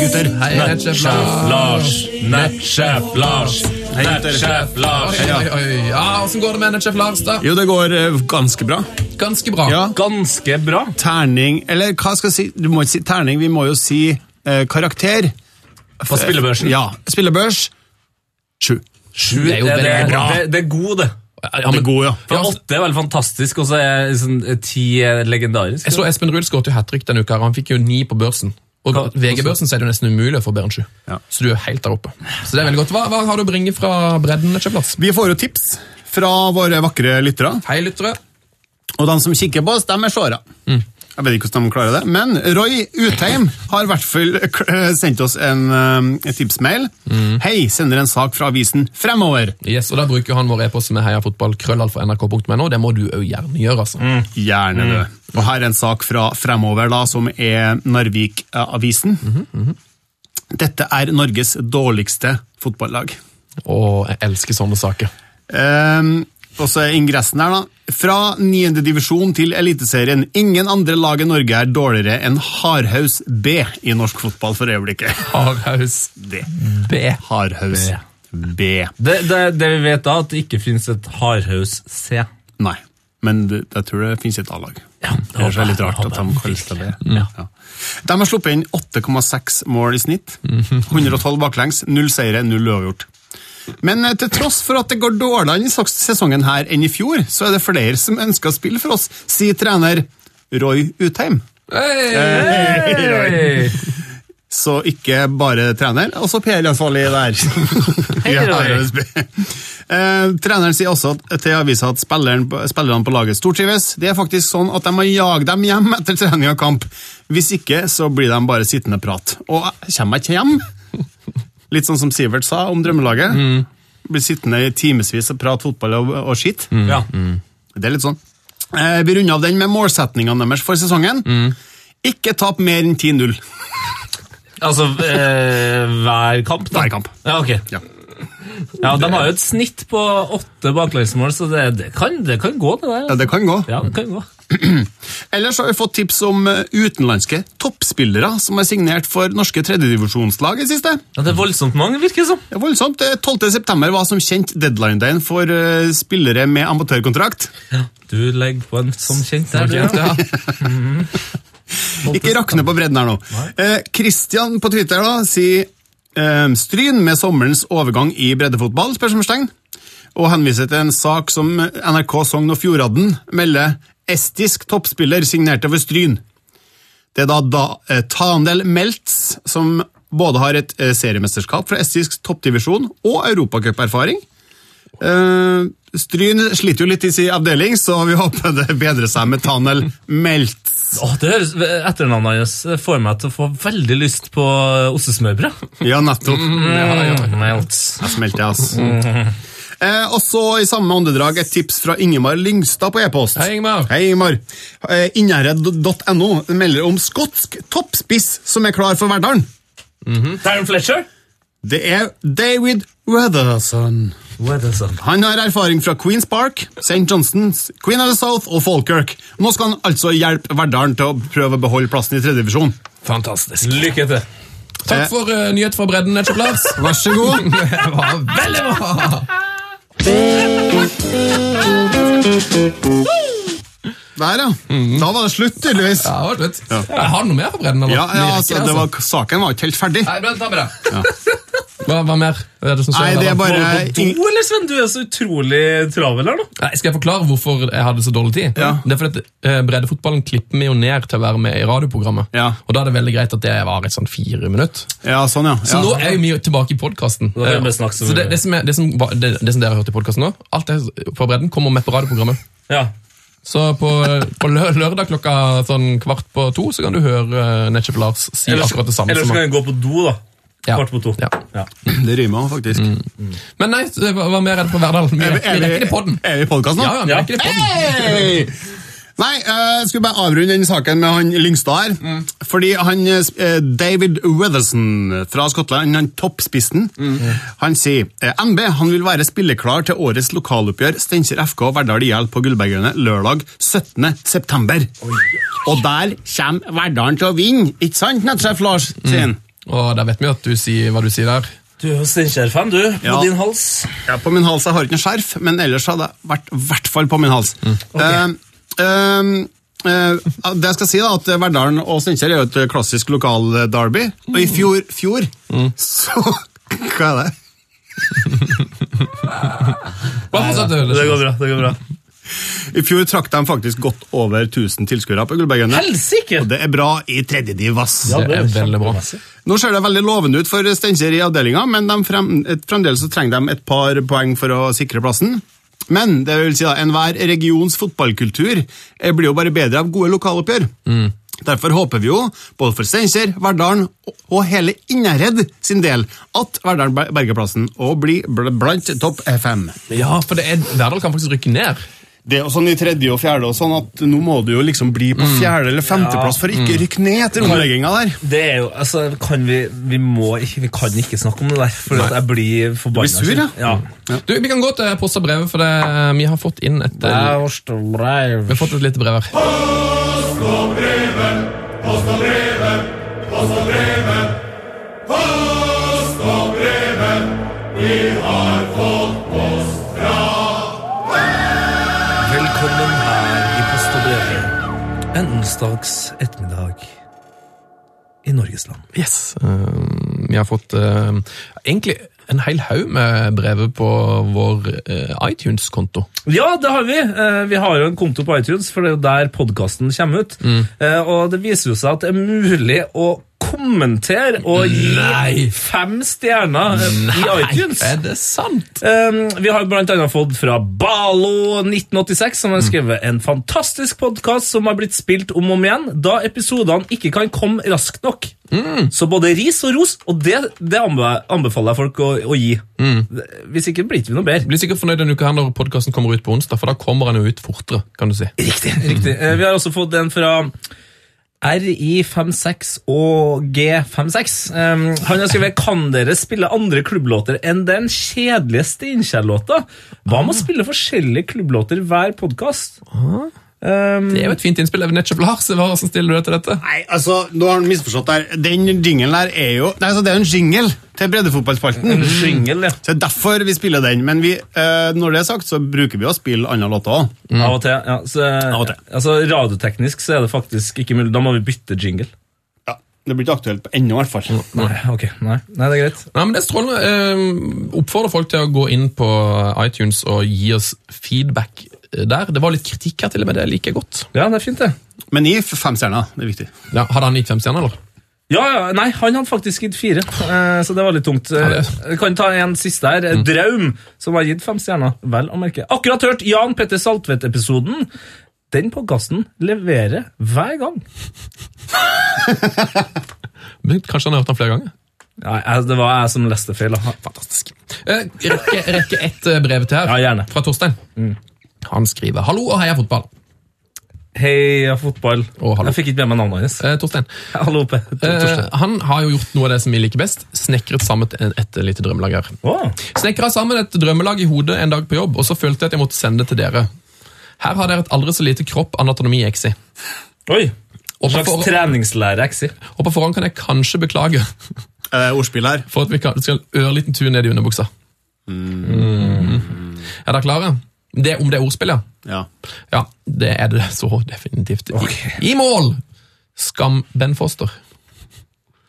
gutter. Hei, nettsjef Lars. Lars, nettsjef Lars, nettsjef Lars. Oi, oi, oi. Ja, Åssen går det med nettsjef Lars, da? Jo, det går eh, ganske bra. Ganske bra. Ja. Ganske bra. Terning Eller hva skal jeg si? Du må ikke si terning, vi må jo si eh, karakter. På spillebørsen. Ja. Spillebørs. Sju. Sju Det er jo veldig det, bra. det, det er god, det. Ja, men god, ja. For åtte er veldig fantastisk, og så er liksom, ti er legendarisk. Jeg så Espen Ruud skåret jo hat trick denne uka. her, og Han fikk jo ni på børsen. Og Hva- VG-børsen så er det jo nesten umulig å få bedre enn sju. Ja. Så du er helt der oppe. Så det er veldig godt. Hva, hva har du å bringe fra bredden? nettsjef Lars? Vi får jo tips fra våre vakre lyttere. Hei, lyttere. Og de som kikker på oss, de er såra. Jeg vet ikke hvordan de klarer det. Men Roy Utheim har i hvert fall eh, sendt oss en eh, en tipsmail. Hei, sender en sak fra avisen Fremover. Yes, og Da bruker han vår e-post som er heiafotballkrøllalfa.nrk.no. Det må du òg gjerne gjøre. altså. Mm. Gjerne det. Og her er en sak fra Fremover, da, som er Narvik-avisen. Dette er Norges dårligste fotballag. Og jeg elsker sånne saker. Ehm, og så er ingressen her, da. Fra 9. divisjon til Eliteserien. Ingen andre lag i Norge er dårligere enn Hardhaus B i norsk fotball for øyeblikket. <laughs> Hardhaus Det. B. Hardhaus B. Det, det, det vi vet da, at det ikke finnes et hardhaus C. Nei, men det, jeg tror det finnes et A-lag. Ja, det Det er så håper jeg, litt rart det at håper de jeg. kalles det det. Ja. De har sluppet inn 8,6 mål i snitt. 112 baklengs, null seire, null uavgjort. Men eh, til tross for at det går dårligere i saks- sesongen her enn i fjor, så er det flere som ønsker å spille for oss, sier trener Roy Utheim. Eh, Hei! Så ikke bare trener, også PR-ansvarlig der. I Roy. RSB. Eh, treneren sier også at- til avisa at spilleren, på- spillerne på laget stortrives. Det er faktisk sånn at de må jage dem hjem etter trening og kamp. Hvis ikke, så blir de bare sittende prat. Og eh, kommer jeg ikke hjem? Litt sånn som Sivert sa om drømmelaget. Blir sittende i timevis og prate fotball og, og skitt. Ja. Det er litt sånn. Eh, vi runder av den med målsetningene deres for sesongen. Ikke tap mer enn 10-0. Altså eh, hver kamp, da? Hver kamp. Ja, ok. Ja. Ja, De har jo et snitt på åtte baklengsmål, så det, det, kan, det kan gå, det Ja, der. altså. det kan gå. Ja, det kan gå. Ellers har vi fått tips om eh, utenlandske toppspillere som er signert for norske tredjedivisjonslag i det siste. Ja, det er voldsomt mange, virker det som. Det er voldsomt. Eh, 12. september var som kjent deadline-dagen for eh, spillere med amatørkontrakt. Du legger på en som kjent der, du. Ja. Ja. Ikke rakne på bredden her nå. Eh, Christian på Twitter da, sier eh, Stryn med sommerens overgang i breddefotball, spørsmålstegn. Og henviser til en sak som NRK Sogn og Fjordadden melder estisk toppspiller signerte for Stryn. Det er da, da eh, Tandel Meltz, som både har et eh, seriemesterskap fra estisk toppdivisjon og europacuperfaring. Eh, Stryn sliter jo litt i sin avdeling, så vi håper det bedrer seg med Tanel Meltz. Åh, det høres, Etternavnet hans får meg til å få veldig lyst på ostesmørbrød. Mm, Ja, nettopp. Melts. smelter jeg, ass. Eh, og så i samme åndedrag et tips fra Ingemar Lyngstad på e-post. Hei, Ingemar. Hei, Ingemar. Eh, Innherred.no melder om skotsk toppspiss som er klar for Verdalen. Darren Fletcher? Det er David Weatherson. Weatherson. Han har erfaring fra Queens Park, St. Johnstons, Queen of the South og Falkirk. Nå skal han altså hjelpe Verdalen til å prøve å beholde plassen i tredje divisjon. Fantastisk. Lykke til. Takk for eh, nyhet fra bredden, nettsjef Lars. <laughs> Vær så <laughs> god. Det var veldig bra! Der, ja. Da var det slutt, tydeligvis. Ja, det var slutt. Jeg har noe mer fra bredden? eller? Ja, Vi ja rekker altså, det, det var, Saken var ikke helt ferdig. Nei, da tar vi det. <laughs> Hva, hva mer? Er det som skjer Nei, her, det da? er bare Du, eller Sven, du er så utrolig travel her nå. Nei, Skal jeg forklare hvorfor jeg hadde så dårlig tid? Ja. Det er fordi at, eh, breddefotballen klipper vi jo ned til å være med i radioprogrammet. Ja. Og da er det veldig greit at det var et sånn fire minutter. Ja, sånn, ja. Så ja. nå er jo vi jo tilbake i podkasten. Da kan vi snakke så Så mye. det, det, som er, det, som, var- det, det som dere har hørt i podkasten nå, alt det på bredden kommer med på radioprogrammet. Ja. Så <laughs> på, på lø- lørdag klokka sånn kvart på to så kan du høre eh, Netchef Lars si Ellers, akkurat det samme. ellers som kan han- jeg gå på do, da. Ja. Kvart på to. Ja. Det rimer faktisk. Men nei, så hva, hva mer er det fra Verdal? Vi, vi rekker det i podden. Er vi i podkast nå? Ja, ja, vi Ja. rekker det i podden. Hei! Nei, jeg skulle bare avrunde den saken med han Lyngstad her. Mm. Fordi han eh, David Weatherson fra Skottland, han toppspissen, Mm. han sier eh, NB han vil være spilleklar til årets lokaloppgjør Steinkjer FK Verdal IL på Gullberggrunnet lørdag 17. september. Og der kommer Verdalen til å vinne, ikke sant, nettsjef Lars? sier han. Og da vet vi at du sier hva du sier der. Du er jo Steinkjer-fan, du. På Ja. din hals. Ja, på min hals, jeg har ikke noe skjerf, men ellers hadde jeg vært i hvert fall på min hals. Mm. Eh, eh, eh, det jeg skal si da, at Verdalen og Steinkjer er jo et klassisk lokalderby, og i fjor, fjor Mm. så <laughs> Hva er det? Bare fortsett, Det Ellers. går bra. det går bra. I fjor trakk de faktisk godt over 1000 tilskuere på Gullbergene. Helsike! Og det er bra i tredjediv, ass. Ja, Det er jo veldig bra. kjempemessig. Nå ser det veldig lovende ut for Steinkjer i avdelinga, men de frem, et- fremdeles så trenger de et par poeng for å sikre plassen. Men det vil si da, enhver regions fotballkultur eh, blir jo bare bedre av gode lokaloppgjør. Derfor håper vi jo, både for Steinkjer, Verdalen og- og hele Innherred sin del, at Verdalen ber- berger plassen og blir bl- blant topp fem. Ja, for det er, Verdal kan faktisk rykke ned. Det er jo sånn i tredje og fjerde og sånn at nå må du jo liksom bli på fjerde eller femteplass for å ikke rykke ned etter omlegginga der. Det er jo, altså, kan vi, vi, må, ikke- vi kan ikke snakke om det der, for at jeg blir forbanna. Du blir sur, ja? ja. Du, Vi kan gå til post og brev, for det, vi har fått inn et Det eh, er vårt brev. Vi har fått et lite brev her. Velkommen her i Post og brev. En onsdags ettermiddag i Norges land. Yes. Eh, vi har fått eh, egentlig en hel haug med brevet på vår eh, iTunes-konto. Ja, det har vi. Eh, Vi har jo en konto på iTunes, for det er jo der podkasten kommer ut. Eh, Og det viser jo seg at det er mulig å kommentere og gi fem stjerner eh, i iTunes. Er det sant? Um, vi har blant annet fått fra Balo1986, som har skrevet en fantastisk podkast som har blitt spilt om og om igjen, da episodene ikke kan komme raskt nok. Så både ris og ros, og det, det anbe- anbefaler jeg folk å, å gi. Hvis ikke blir det ikke vi noe bedre. Blir sikkert fornøyd denne uka her når podkasten kommer ut på onsdag, for da kommer den jo ut fortere. kan du si. Riktig. riktig. Eh, Vi har også fått en fra RI56 og G56. Um, han har skrevet Kan dere spille andre klubblåter enn den kjedelige Steinkjer-låta? Hva med å spille forskjellige klubblåter hver podkast? Um, Det er jo et fint innspill. Even Netchup Lars, hva- hvordan stiller du deg til dette? Nei, altså, nå har han misforstått der. Den jinglen der er jo Nei, altså, det er jo en jingle til breddefotballspalten. Jingle, ja. Så det er derfor vi spiller den. Men vi, eh, når det er sagt, så bruker vi å spille andre låter òg. Av og til. Ja. Så, og til. Altså, radioteknisk så er det faktisk ikke mulig. Da må vi bytte jingle. Ja, det blir ikke aktuelt på ennå, i hvert fall. Nei, ok. Nei, Nei det er greit. Nei, men det er strålende. Eh, Oppfordrer folk til å gå inn på iTunes og gi oss feedback eh, der. Det var litt kritikk her til og med, det liker jeg godt. Ja, det er fint, det. Men gi f- fem stjerner. Det er viktig. Ja, hadde han gitt fem stjerner, eller? Ja, ja, nei, han hadde faktisk gitt fire, eh, så det var litt tungt. Eh, det Mm. Jeg kan ta en siste her. eh, Draum, som har gitt fem stjerner. Vel å merke. Akkurat hørt Jan Petter Saltvedt-episoden. Den podkasten leverer hver gang. Men Kanskje han har hørt den flere ganger? Nei, jeg- det var jeg som leste feil. da. Fantastisk. Eh, rekke, rekke ett eh, brev til her, Ja, gjerne. Mm. fra Torstein. Han skriver 'Hallo og heia fotball'. Heia fotball. Å, hallo. jeg fikk ikke med meg navnet hans. <laughs> Eh, Torstein, Hallo, Pe- Tor- eh, Torstein. han har jo gjort noe av det som vi liker best. Snekret sammen et, et lite drømmelag her. Å, Snekra sammen et drømmelag i hodet en dag på jobb, og så følte jeg at jeg måtte sende det til dere. Her har dere et aldri så lite kropp anatomi exi. Oi! En Og på, slags for, treningslærer, jeg sier. og på forhånd kan jeg kanskje beklage Eh, ordspill her. for at vi kan, skal en ørliten tur ned i underbuksa. Mm. Mhm. Er dere klare? Det, om det er ordspill, ja? Ja. Ja, det er det så definitivt. I- I mål! Skam Ben Foster.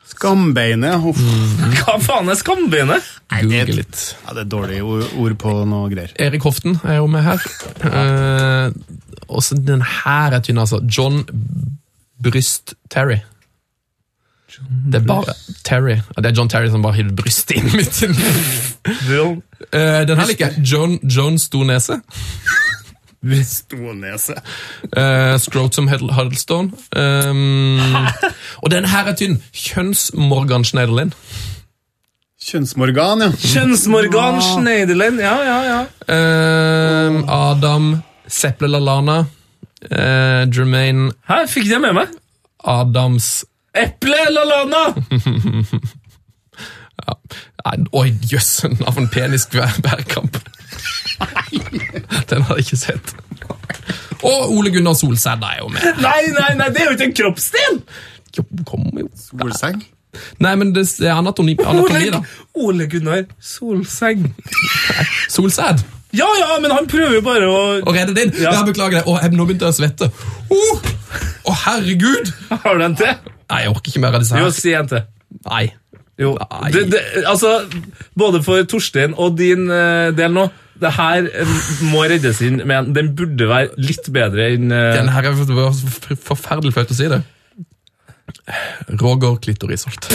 Skambeinet. Uff. Hva faen er skambeinet? Google litt. Ja, det er dårlige ord ord på noe greier. Erik Hoften er jo med her. Eh, og så den her er tynn, altså. John Bryst Terry. Det er bare Terry. Ja, det er John Terry som bare hiver brystet inn midt inn. Bro, Eh, den her liker jeg. John, John Stornese. Stonese. Eh, Scrotum Huddle- Huddlestone. Um, og den her er tynn. Kjønns-Morgan Schneiderlin. Kjønnsorgan, ja. Kjønnsmorgan Schneiderlin. Ja, ja, ja. Ehm, Adam Sepple Lalana. eh, Jermaine Hæ, fikk jeg med meg? Adams Eple Lalana! Nei, Oi, jøss! <laughs> Navn penis hver, hver kamp. Den har jeg ikke sett. Og Ole Gunnar Solsæd er jo med. Nei, nei, nei, det er jo ikke en kroppsdel! Jo, Kom jo. Solseng. Nei, men det er anatomi, anatomi da. Ole Gunnar Solseng. Solsæd. Ja, ja, men han prøver jo bare å Å redde din? Ja. Ja. beklager det. Å, jeg- nå begynte jeg å svette. Å, Å, herregud! Har du en til? Nei, jeg orker ikke mer av disse Jo, her. si en til. Nei. Jo. Nei. Det, det, altså, både for Torstein og din eh, del nå, det her eh, må reddes inn, men den burde være litt bedre enn eh, Den her er for- for- forferdelig flaut å si det. Roger Klitorisholt.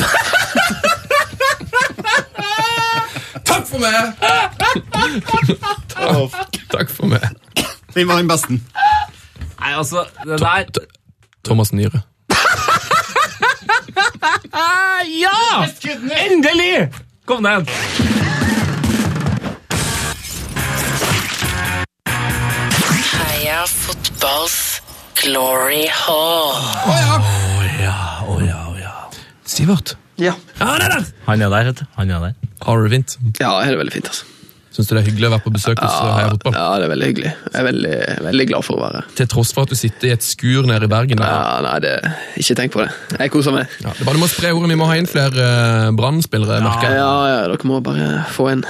Takk for meg! Takk, takk for meg. Den var den beste. Nei, altså, det der T- Thomas Nyhre. Ja! Endelig! Kom ned. Heia fotballs glory hall. Sivert. Ja. Han er der, vet du. Han er der. Arvint. ja, er det veldig fint, altså. Syns du det er hyggelig å være på besøk hos eh, Heia Fotball? Ja, det er veldig hyggelig. Jeg er veldig, veldig glad for å være her. Til tross for at du sitter i et skur nede i Bergen. Der. Ja, nei, det, ikke tenk på det. Jeg koser meg. Ja, det er bare du må spre ordet. Vi må ha inn flere eh, Brann-spillere. merker Ja, jeg. ja, dere må bare få, en,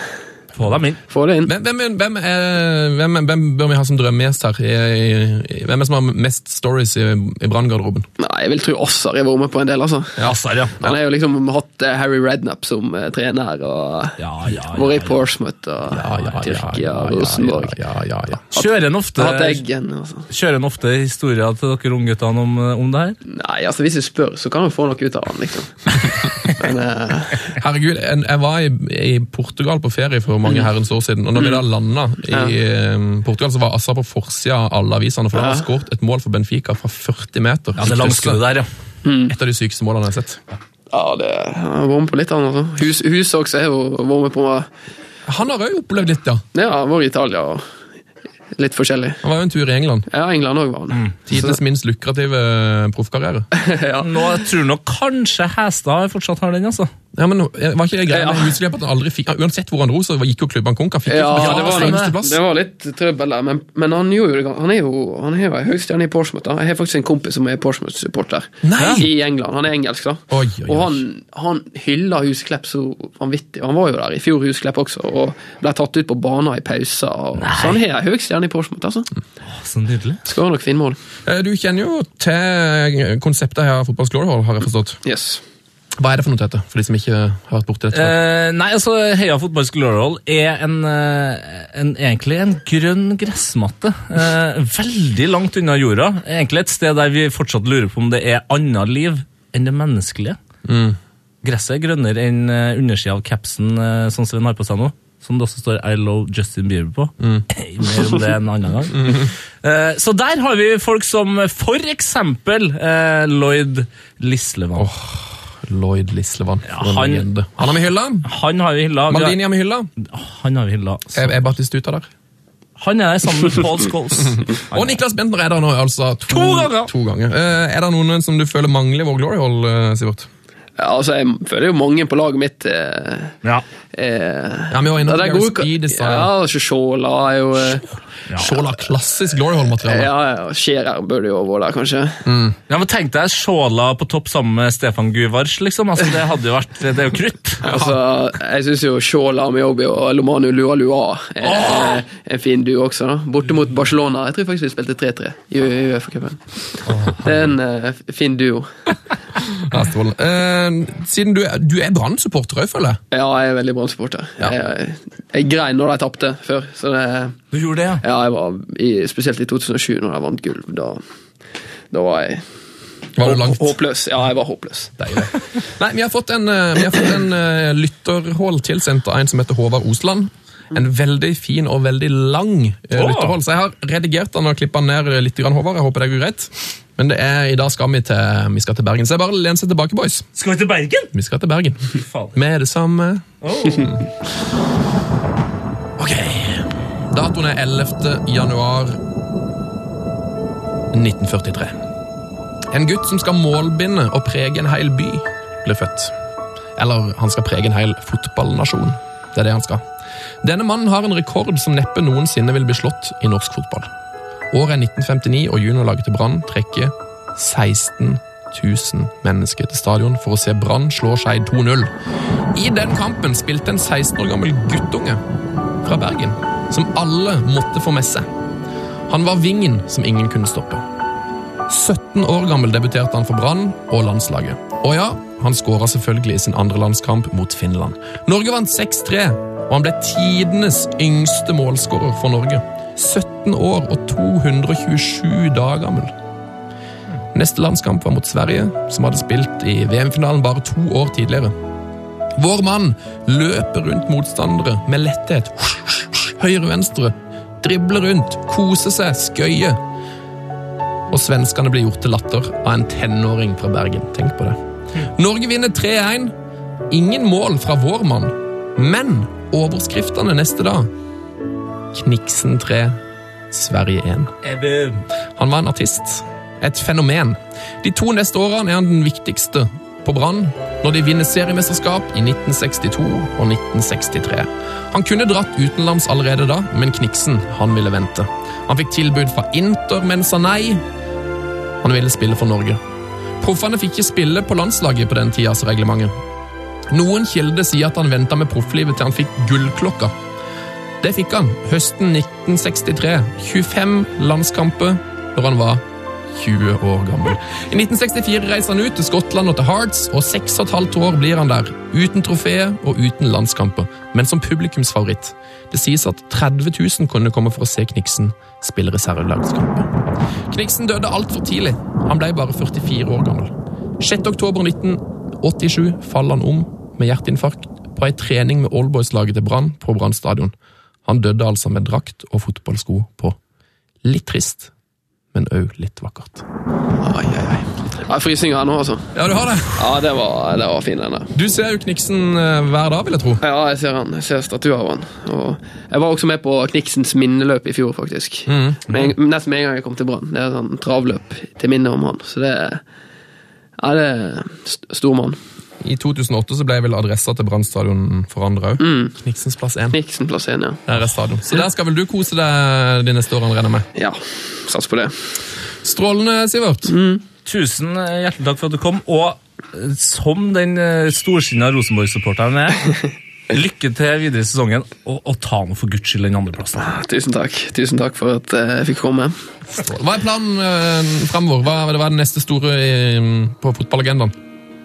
Få dem inn. få det inn. Hvem, hvem, er- hvem, er, hvem, hvem bør vi ha som drømmegjest her? I, i, hvem er det som har mest stories i, i Brann-garderoben? Nei, jeg vil tro Ossar har vært med på en del, altså. Ja, sorry, ja. Han har jo liksom hatt eh, Harry Redknapp som eh, trener, og Ja, ja, ja, vært i Portsmouth og Tyrkia og Rosenborg. ja, ja, ja. Kjører han ofte, Hatt Eggen og sånn. kjører han ofte historier til dere ungguttene om, eh, om det her? Nei, altså hvis du spør, så kan du få noe ut av han, <laughs> liksom. Men eh, Herregud, en, jeg var i, i Portugal på ferie for mange Mm. herrens år siden, og når vi da landa i eh, Portugal, så var Assa på forsida av alle avisene, for han har skåret et mål for Benfica fra 40 meter. Ja, det langskuddet der, ja. Et av de sykeste målene jeg har sett. ja, det han har vært med på litt, han også. Hus, hus også har jo vært med på Han har òg opplevd litt, ja. Ja, han var i Italia og litt forskjellig. Han var jo en tur i England. Ja, England òg var Mm. han. Tidenes minst lukrative eh, proffkarriere. Nå jeg tror nok kanskje Hestad fortsatt har den, altså. Ja, men eh, var ikke det greia med husleie på at han aldri fikk Uansett hvor han dro, så gikk jo klubben konk. Han fikk Ja, jo det var, fremste litt, plass. det var litt trøbbel der, men, men han, gjorde, det- han er jo han er jo en høystjerne i Portsmouth. da. Jeg har faktisk en kompis som er Portsmouth-supporter Nei! i England. Han er engelsk, da. Oi, oi, oi. Og han, han hyller Husklepp så vanvittig. Han var jo der i fjor, Husklepp også, og ble tatt ut på banen i pauser. og- Så han har en høystjerne i Portsmouth, altså. Så nydelig. Skårer nok fine mål. Eh, Du kjenner jo til konseptet her, Fotballs Glory Hall, har jeg forstått. Yes. Hva er det for noe, Tete, for de som ikke har vært borti dette? før? Eh, nei, altså, Heia fotballs glory hall er en, eh, en, egentlig en grønn gressmatte. Eh, veldig langt unna jorda. Egentlig et sted der vi fortsatt lurer på om det er annet liv enn det menneskelige. Gresset er grønnere enn eh, undersida av capsen eh, sånn som den har på seg nå. Som det også står 'I love Justin Bieber' på. <laughs> Mer om det en annen gang. Eh, så der har vi folk som for eksempel eh, Lloyd Lislevann. Lloyd Lislevann. for en han- legende. han har vi hylla! Han har vi hylla. Vi har- Maldini har vi hylla! Han har vi hylla. så- Er, er Batistuta der? Han er der sammen med Paul Scholes. Og Niklas Bentner er der nå, altså. To, ganger! to ganger. Eh, er det noen som du føler mangler i vår Glory Hall, eh, Sivert? Ja, altså, jeg føler jo mange på laget mitt eh, <laughs> Ja. eh, Ja, vi var inne ja, på det er Gary gode- Speed i stad. Ja, Sjåla er jo eh, Sjåla, klassisk Glory Hall-materiale. Ja, ja, Skjærer burde jo vært der, kanskje. Mm. ja, men Tenk deg Sjåla på topp sammen med Stefan Guvars, liksom. Altså, det hadde jo vært, det er jo krutt. <laughs> Altså, jeg syns jo Shola Miobi og Lomano Lua Lua er er en fin duo også. da. Borte mot Barcelona. Jeg tror faktisk vi spilte 3-3 i UFA-cupen. Det er en eh, fin duo. Ja, strålende. Eh, siden du, er- du er Brann-supporter òg, føler jeg. Ja, jeg er veldig Brann-supporter. Jeg, jeg grein når de tapte før. Så det, Du gjorde det, ja. ja, jeg var i, spesielt i 2007, når de vant gull. Da, da var jeg Var det langt? håpløs. Ja, jeg var håpløs. Nei, vi har fått en, eh, vi har fått en eh, lytterhål tilsendt av en som heter Håvard Osland. En veldig fin og veldig lang eh, lytterhål. Så jeg har redigert den og klippa den ned eh, litt, grann, Håvard. Jeg håper det går greit. Men det er, i dag skal vi til, vi skal til Bergen. Så det er bare å lene seg tilbake, boys. Skal vi til Bergen? Vi skal til Bergen. faen. Med det samme. Ok. Datoen er 11. januar 1943. En gutt som skal målbinde og prege en hel by, blir født. Eller han skal prege en hel fotballnasjon. Det er det han skal. Denne mannen har en rekord som neppe noensinne vil bli slått i norsk fotball. Året er 1959, og juniorlaget til Brann trekker 16 000 mennesker til stadion for å se Brann slå Skeid 2-0. I den kampen spilte en 16 år gammel guttunge fra Bergen, som alle måtte få med seg. Han var vingen som ingen kunne stoppe. 17 år gammel debuterte han for Brann og landslaget. Og ja, han skåra selvfølgelig i sin andre landskamp mot Finland. Norge vant 6-3, og han ble tidenes yngste målskårer for Norge. 17 år og 227 dager gammel. Neste landskamp var mot Sverige, som hadde spilt i VM-finalen bare to år tidligere. Vår mann løper rundt motstandere med letthet. Høyre-venstre. Dribler rundt, koser seg, skøyer. Og svenskene blir gjort til latter av en tenåring fra Bergen. Tenk på det. Norge vinner 3-1. Ingen mål fra vår mann. Men overskriftene neste dag Kniksen 3, Sverige 1. Han var en artist. Et fenomen. De to neste årene er han den viktigste på Brann når de vinner seriemesterskap i 1962 og 1963. Han kunne dratt utenlands allerede da, men Kniksen han ville vente. Han fikk tilbud fra Inter, men sa nei. Han ville spille for Norge. Proffene fikk ikke spille på landslaget på den tidas reglementet. Noen kilder sier at han venta med profflivet til han fikk gullklokka. Det fikk han høsten 1963. 25 landskamper når han var 20 år gammel. I 1964 reiser han ut til Skottland og til Hearts, og seks og et halvt år blir han der. Uten trofé og uten landskamper, men som publikumsfavoritt. Det sies at 30 000 kunne komme for å se Kniksen spille reservelagskamper. Kniksen døde altfor tidlig. Han ble bare 44 år gammel. 6. oktober 1987 faller han om med hjerteinfarkt på ei trening med Allboys-laget til Brann på Brann stadion. Han døde altså med drakt og fotballsko på. Litt trist, men òg litt vakkert. Ja, Frysninger her nå, altså. Ja, du har det! Ja, det var, det var fin, den der. Du ser jo Kniksen eh, hver dag, vil jeg tro. Ja, jeg ser han. Jeg ser statuer av han. Og jeg var også med på Kniksens minneløp i fjor, faktisk. Mm. Med en- nesten med en gang jeg kom til Brann. Det er sånn travløp til minne om han. Så det er Ja, det er st- stor mann. I 2008 så ble vel adressa til Brann stadion forandra òg. Kniksens plass 1. Kniksen plass én, ja. Der er stadion. Så der skal vel du kose deg de neste årene, regner jeg med. Ja, sats på det. Strålende, Sivert. Tusen eh, hjertelig takk for at du kom, og eh, som den eh, storsinna Rosenborg-supporteren <laughs> er, lykke til videre i sesongen, og, og ta nå for guds skyld den andreplassen. Tusen takk. Tusen takk for at eh, jeg fikk komme. Hva er planen eh, fremover? Hva er, hva er det neste store eh, på fotballagendaen?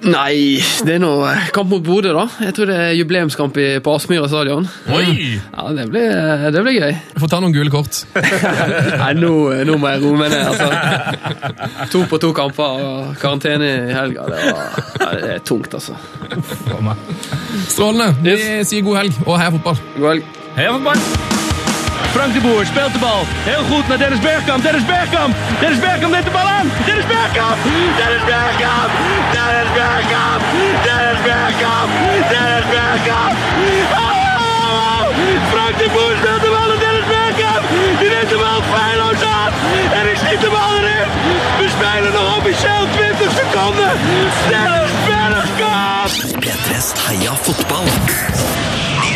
Nei, det er nå eh, kamp mot Bodø, da. Jeg tror det er jubileumskamp i- på Aspmyra stadion. Oi! Ja, det blir, eh, det blir gøy. Få ta noen gule kort. Nei, nå, nå må jeg roe meg ned. Altså. To på to kamper og karantene i helga. Det, var, ja, det er tungt, altså. Strålende. Vi sier god helg og heia fotball. God helg. Hei, Frank. Frank de Boer speelt de bal. Heel goed naar Dennis Bergkamp. Dennis Bergkamp. Dennis Bergkamp neemt de bal aan. Dennis Bergkamp. Dennis Bergkamp. Dennis Bergkamp. Dennis Bergkamp. Dennis Bergkamp. Oh! Frank de Boer speelt de bal aan Dennis Bergkamp. Die neemt de bal feilloos aan. En ik schiet de bal erin. We spelen nog officieel 20 seconden. Dennis Bergkamp. P3s Heia fotball. Ny